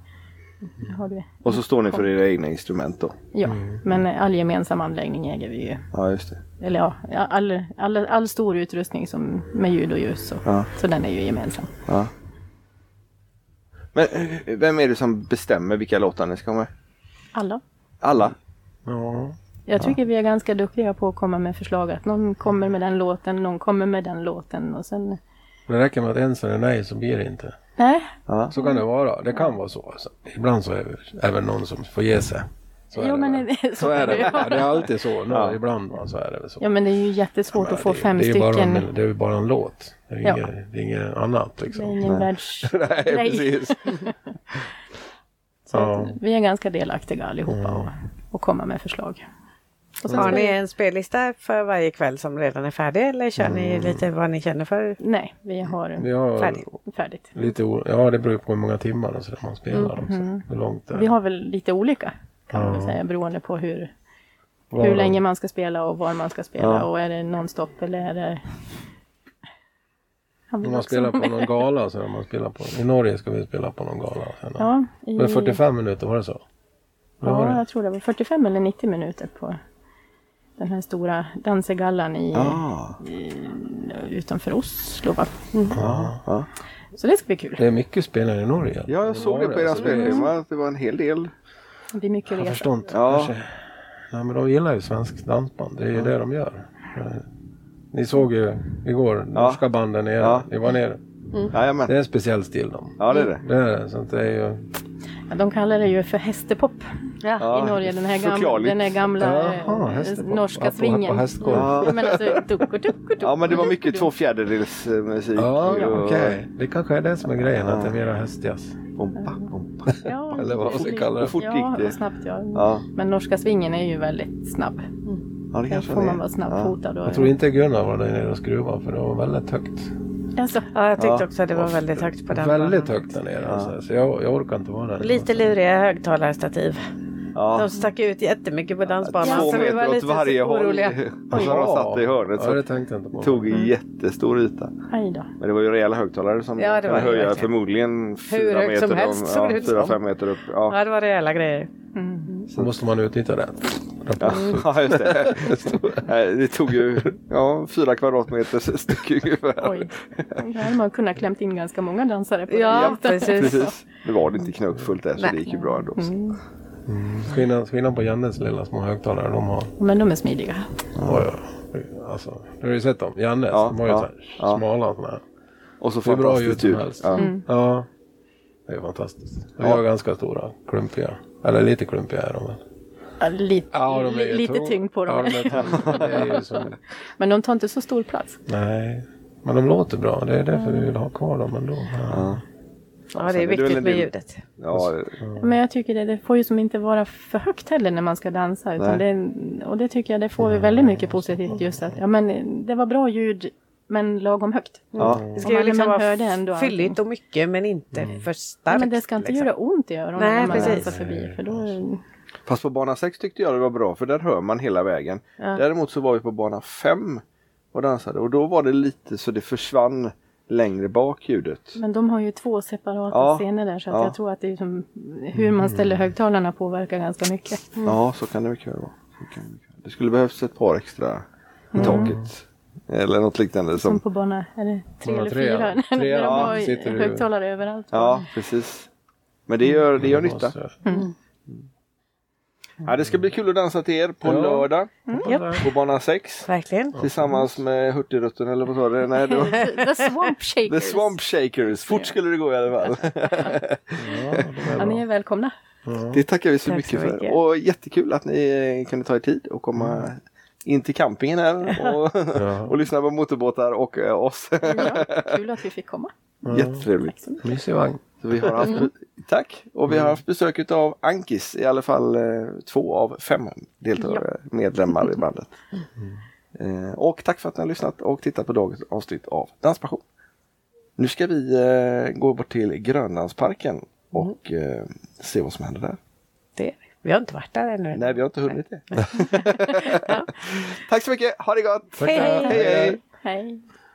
Speaker 3: har du,
Speaker 1: Och så står ni för era egna instrument då?
Speaker 3: ja.
Speaker 4: Mm.
Speaker 3: Men eh, all gemensam anläggning äger vi ju.
Speaker 1: Ja, just det.
Speaker 3: Eller ja, all, all, all stor utrustning som, med ljud och ljus så,
Speaker 1: Ja.
Speaker 3: så den är ju gemensam.
Speaker 1: Ja. Men eh, vem är det som bestämmer vilka låtar ni ska ha med?
Speaker 3: Alla.
Speaker 1: Alla?
Speaker 4: ja.
Speaker 3: Jag tycker vi är ganska duktiga på att komma med förslag att någon kommer med den låten, någon kommer med den låten och sen
Speaker 4: Det räcker med att en säger nej så blir det inte.
Speaker 3: Nej,
Speaker 4: Så kan det vara. Det kan vara så. Alltså. Ibland så är det även någon som får ge sig. Så är
Speaker 3: jo
Speaker 4: det väl.
Speaker 3: men
Speaker 4: Så är det.
Speaker 3: ja.
Speaker 4: Ja, det är alltid så. Nå, Ibland va, så är det väl så.
Speaker 3: Ja men det är ju jättesvårt att få
Speaker 4: det,
Speaker 3: fem
Speaker 4: det är ju Bara
Speaker 3: stycken.
Speaker 4: en, det är ju bara en låt. Det är ju
Speaker 3: Ja.
Speaker 4: inget, det är inget annat
Speaker 3: Det
Speaker 4: liksom.
Speaker 3: är ingen världs...
Speaker 4: Nej, precis.
Speaker 3: Så
Speaker 4: Ja. Mm.
Speaker 3: att vi är ganska delaktiga allihopa och, och kommer med förslag. Och sen
Speaker 2: Har
Speaker 3: ska
Speaker 2: ni
Speaker 3: vi-
Speaker 2: en spellista för varje kväll som redan är färdig eller kör
Speaker 4: Mm.
Speaker 2: ni lite vad ni känner för?
Speaker 3: Nej, vi har
Speaker 4: Vi har
Speaker 2: Färdigt.
Speaker 3: färdigt.
Speaker 4: lite o- Ja, det beror ju på hur många timmar och så där man spelar också. Hur långt det är.
Speaker 3: Mm. Vi har väl lite olika kan man väl säga beroende på hur,
Speaker 4: Var-
Speaker 3: hur länge man ska spela och var man ska spela och är det nonstop eller är det... Han vill
Speaker 4: Om man
Speaker 3: också vara
Speaker 4: spelar på
Speaker 3: med.
Speaker 4: någon gala så är det man spelar på. I Norge ska vi spela på någon gala. Sen.
Speaker 3: Ja, i,
Speaker 4: Men 45 minuter, var det så? Vad var
Speaker 3: ja,
Speaker 4: det?
Speaker 3: jag tror det var 45 eller 90 minuter på den här stora dansegallan i,
Speaker 1: Ja.
Speaker 3: utanför Oslo. Va? Mm.
Speaker 4: Ja.
Speaker 1: ja.
Speaker 3: Så det ska bli kul.
Speaker 4: Det är mycket spelare i Norge.
Speaker 1: Ja, jag såg det på er
Speaker 4: Alltså, det är-
Speaker 1: spelschema att det var en hel del.
Speaker 3: Det blir mycket
Speaker 4: Jag
Speaker 3: resa.
Speaker 4: förstår inte.
Speaker 1: Ja.
Speaker 4: Kanske. Nej, men de gillar ju svensk dansband. Det är ju det de gör. Ni såg ju igår norska banden nere.
Speaker 1: Ja.
Speaker 4: Ni var nere. Det
Speaker 1: Jajamän.
Speaker 4: är en speciell stil de.
Speaker 1: Ja, det är det.
Speaker 4: Det är det. Så att det är ju...
Speaker 3: Ja, de kallar det ju för hästepop
Speaker 2: Ja.
Speaker 1: Ja,
Speaker 3: i Norge. Den här gamla,
Speaker 1: förklarligt.
Speaker 3: den här gamla eh,
Speaker 4: Jaha, hästepop.
Speaker 3: norska
Speaker 4: Apropå
Speaker 3: svingen.
Speaker 4: hästgolv.
Speaker 1: Ja.
Speaker 3: Ja, men alltså, ducko, ducko, ducko,
Speaker 1: Ja, men det var mycket
Speaker 3: ducko,
Speaker 1: två fjärdedels eh, musik.
Speaker 4: Ja,
Speaker 1: och-
Speaker 4: okej. Det kanske är det som är grejen. Att det är mera hästjazz.
Speaker 1: Bompa, bompa.
Speaker 3: ducko. Ja,
Speaker 4: Eller vad man ska
Speaker 3: precis.
Speaker 4: kalla
Speaker 1: Hur
Speaker 4: det.
Speaker 1: fort
Speaker 3: Ja,
Speaker 1: gick
Speaker 3: vad
Speaker 1: det?
Speaker 3: snabbt ja.
Speaker 1: Ja,
Speaker 3: Men norska svingen är ju väldigt snabb.
Speaker 1: ja det
Speaker 3: Där
Speaker 1: kanske
Speaker 3: får
Speaker 1: det är.
Speaker 3: man vara snabbfotad. och-
Speaker 4: Jag tror inte Gunnar var där nere och skruvade för det var väldigt högt.
Speaker 3: Alltså,
Speaker 2: Ja, jag tyckte
Speaker 1: Ja.
Speaker 2: också att det var väldigt högt på den.
Speaker 4: Väldigt
Speaker 2: banan.
Speaker 4: högt där nere. Alltså. Så jag, jag orkar inte vara där.
Speaker 2: Lite luriga högtalarstativ.
Speaker 1: Ja.
Speaker 2: De stack ut jättemycket på
Speaker 1: Ja,
Speaker 2: dansbanan.
Speaker 1: två
Speaker 2: så vi
Speaker 1: meter
Speaker 2: var
Speaker 1: åt
Speaker 2: lite
Speaker 1: varje håll.
Speaker 2: oroliga.
Speaker 1: Och så har de Alltså, satt i hörnet.
Speaker 4: Ja,
Speaker 1: Så
Speaker 4: det tänkte jag Mm. inte på.
Speaker 1: det tog en jättestor yta.
Speaker 3: aj då.
Speaker 1: Men det var ju rejäla högtalare som
Speaker 2: Ja, det var
Speaker 1: kunde
Speaker 2: det
Speaker 1: höja
Speaker 2: verkligen.
Speaker 1: förmodligen fyra
Speaker 2: högt
Speaker 1: meter.
Speaker 2: som helst
Speaker 1: om-
Speaker 2: såg det
Speaker 1: ja,
Speaker 2: ut
Speaker 1: fyra,
Speaker 2: som.
Speaker 1: fem meter upp. Ja,
Speaker 2: Ja, det var rejäla grejer.
Speaker 3: Mm.
Speaker 4: Så måste man utnyttja det.
Speaker 1: ja. ja just
Speaker 2: Mm.
Speaker 1: det. Nej, det tog ju ja, fyra kvadratmeter styck ungefär.
Speaker 3: Oj, där hade man kunnat klämt in ganska många dansare. På
Speaker 2: Ja,
Speaker 3: det. Mm.
Speaker 2: precis.
Speaker 1: Precis. Nu var det inte knökfullt där så
Speaker 2: Nej.
Speaker 1: det gick ju bra ändå. Så.
Speaker 3: Mm.
Speaker 4: Skillnad, skillnad på Jannes lilla små högtalare de har.
Speaker 3: Men de är smidiga.
Speaker 4: Oj, oj. Alltså, du har ju sett dem. Jannes,
Speaker 1: Ja,
Speaker 4: de har ju
Speaker 1: ja,
Speaker 4: så här
Speaker 1: ja.
Speaker 4: smala såna här.
Speaker 1: Och så
Speaker 4: Det är bra ljud
Speaker 1: fantastiskt
Speaker 4: som
Speaker 1: ljud.
Speaker 4: helst.
Speaker 1: Ja.
Speaker 2: Mm.
Speaker 4: Ja, det är fantastiskt. De är ganska stora, klumpiga. Eller lite klumpiga är de väl.
Speaker 3: Ja, lite,
Speaker 4: Ja, de är ju
Speaker 3: lite
Speaker 4: tunga.
Speaker 3: tyngd på dem.
Speaker 4: Ja, de är tunga. det är ju som,
Speaker 3: Men de tar inte så stor plats.
Speaker 4: nej, men de låter bra. Det är därför vi vill ha kvar dem ändå.
Speaker 1: Ja.
Speaker 2: Ja,
Speaker 1: sen är
Speaker 2: det är
Speaker 1: det väl
Speaker 2: viktigt
Speaker 1: en
Speaker 2: med
Speaker 1: del-
Speaker 2: ljudet.
Speaker 1: Ja, det-
Speaker 3: Men jag tycker det, det får ju som inte vara för högt heller när man ska dansa. Utan det, och det tycker jag, det får vi väldigt mycket positivt just att ja, men det var bra ljud men lagom högt.
Speaker 1: ja.
Speaker 2: Det
Speaker 3: Om
Speaker 2: ska
Speaker 3: man
Speaker 2: ju liksom
Speaker 3: liksom
Speaker 2: vara
Speaker 3: hörde ändå allting.
Speaker 2: fylligt och mycket men inte för starkt.
Speaker 3: Nej, men det ska inte
Speaker 2: liksom.
Speaker 3: göra ont i öronen
Speaker 2: Nej,
Speaker 3: när man
Speaker 2: precis.
Speaker 3: dansar förbi. För då,
Speaker 1: Fast på bana 6 tyckte jag det var bra för där hör man hela vägen. Däremot så var vi på bana 5 och dansade och då var det lite så det försvann längre bak ljudet.
Speaker 3: men de har ju två separata
Speaker 1: Ja.
Speaker 3: scener där så att
Speaker 1: Ja.
Speaker 3: jag tror att det är som, hur man ställer högtalarna påverkar ganska mycket.
Speaker 1: Ja, så kan det mycket väl vara. Så kan det mycket väl. Det skulle behövas ett par extra i taket. Eller något liknande.
Speaker 3: Som
Speaker 1: Som...
Speaker 3: på bana är det tre
Speaker 4: Bana
Speaker 3: eller
Speaker 4: tre, ja.
Speaker 3: fyra. När
Speaker 4: Tre,
Speaker 3: de
Speaker 4: ja, sitter
Speaker 3: har
Speaker 4: du-
Speaker 3: högtalare överallt.
Speaker 1: Ja, precis. Men det gör, det gör
Speaker 4: Mm.
Speaker 1: nytta. Ja, det ska bli kul att dansa till er på
Speaker 4: Mm, Ja.
Speaker 1: lördag
Speaker 2: Japp,
Speaker 1: på bana 6.
Speaker 2: verkligen.
Speaker 1: Tillsammans med Hurtigruten eller vad sa du? Nej, det var...
Speaker 3: The Swamp
Speaker 1: The
Speaker 3: Shakers.
Speaker 1: Swamp Shakers. Fort skulle det gå i alla fall.
Speaker 4: Ja, de är
Speaker 3: Ja, ni
Speaker 4: bra.
Speaker 3: är välkomna.
Speaker 1: Det tackar vi så
Speaker 2: Tack så
Speaker 1: mycket för.
Speaker 2: mycket. Mm.
Speaker 1: Och jättekul att ni eh, kunde ta er tid och komma in till campingen här och,
Speaker 4: Ja.
Speaker 1: och lyssna på motorbåtar och eh, oss.
Speaker 3: Ja, kul att vi fick komma.
Speaker 1: Jättetrevligt.
Speaker 4: Mysig vagn.
Speaker 1: Så vi har haft,
Speaker 2: Mm.
Speaker 1: Tack! Och vi har haft besök av Ankis, i alla fall eh, två av fem deltagare, medlemmar i bandet.
Speaker 2: Mm.
Speaker 1: Eh, Och tack för att ni har lyssnat och tittat på dagens avsnitt av Danspassion. Nu ska vi eh, gå bort till Grönlandsparken och
Speaker 2: Mm.
Speaker 1: eh, se vad som händer där.
Speaker 2: Det, vi har inte varit där ännu.
Speaker 1: Nej, vi har inte hunnit det. Tack så mycket. Ha det gott.
Speaker 2: Hej, hej.
Speaker 1: hej. hej.
Speaker 3: Hej.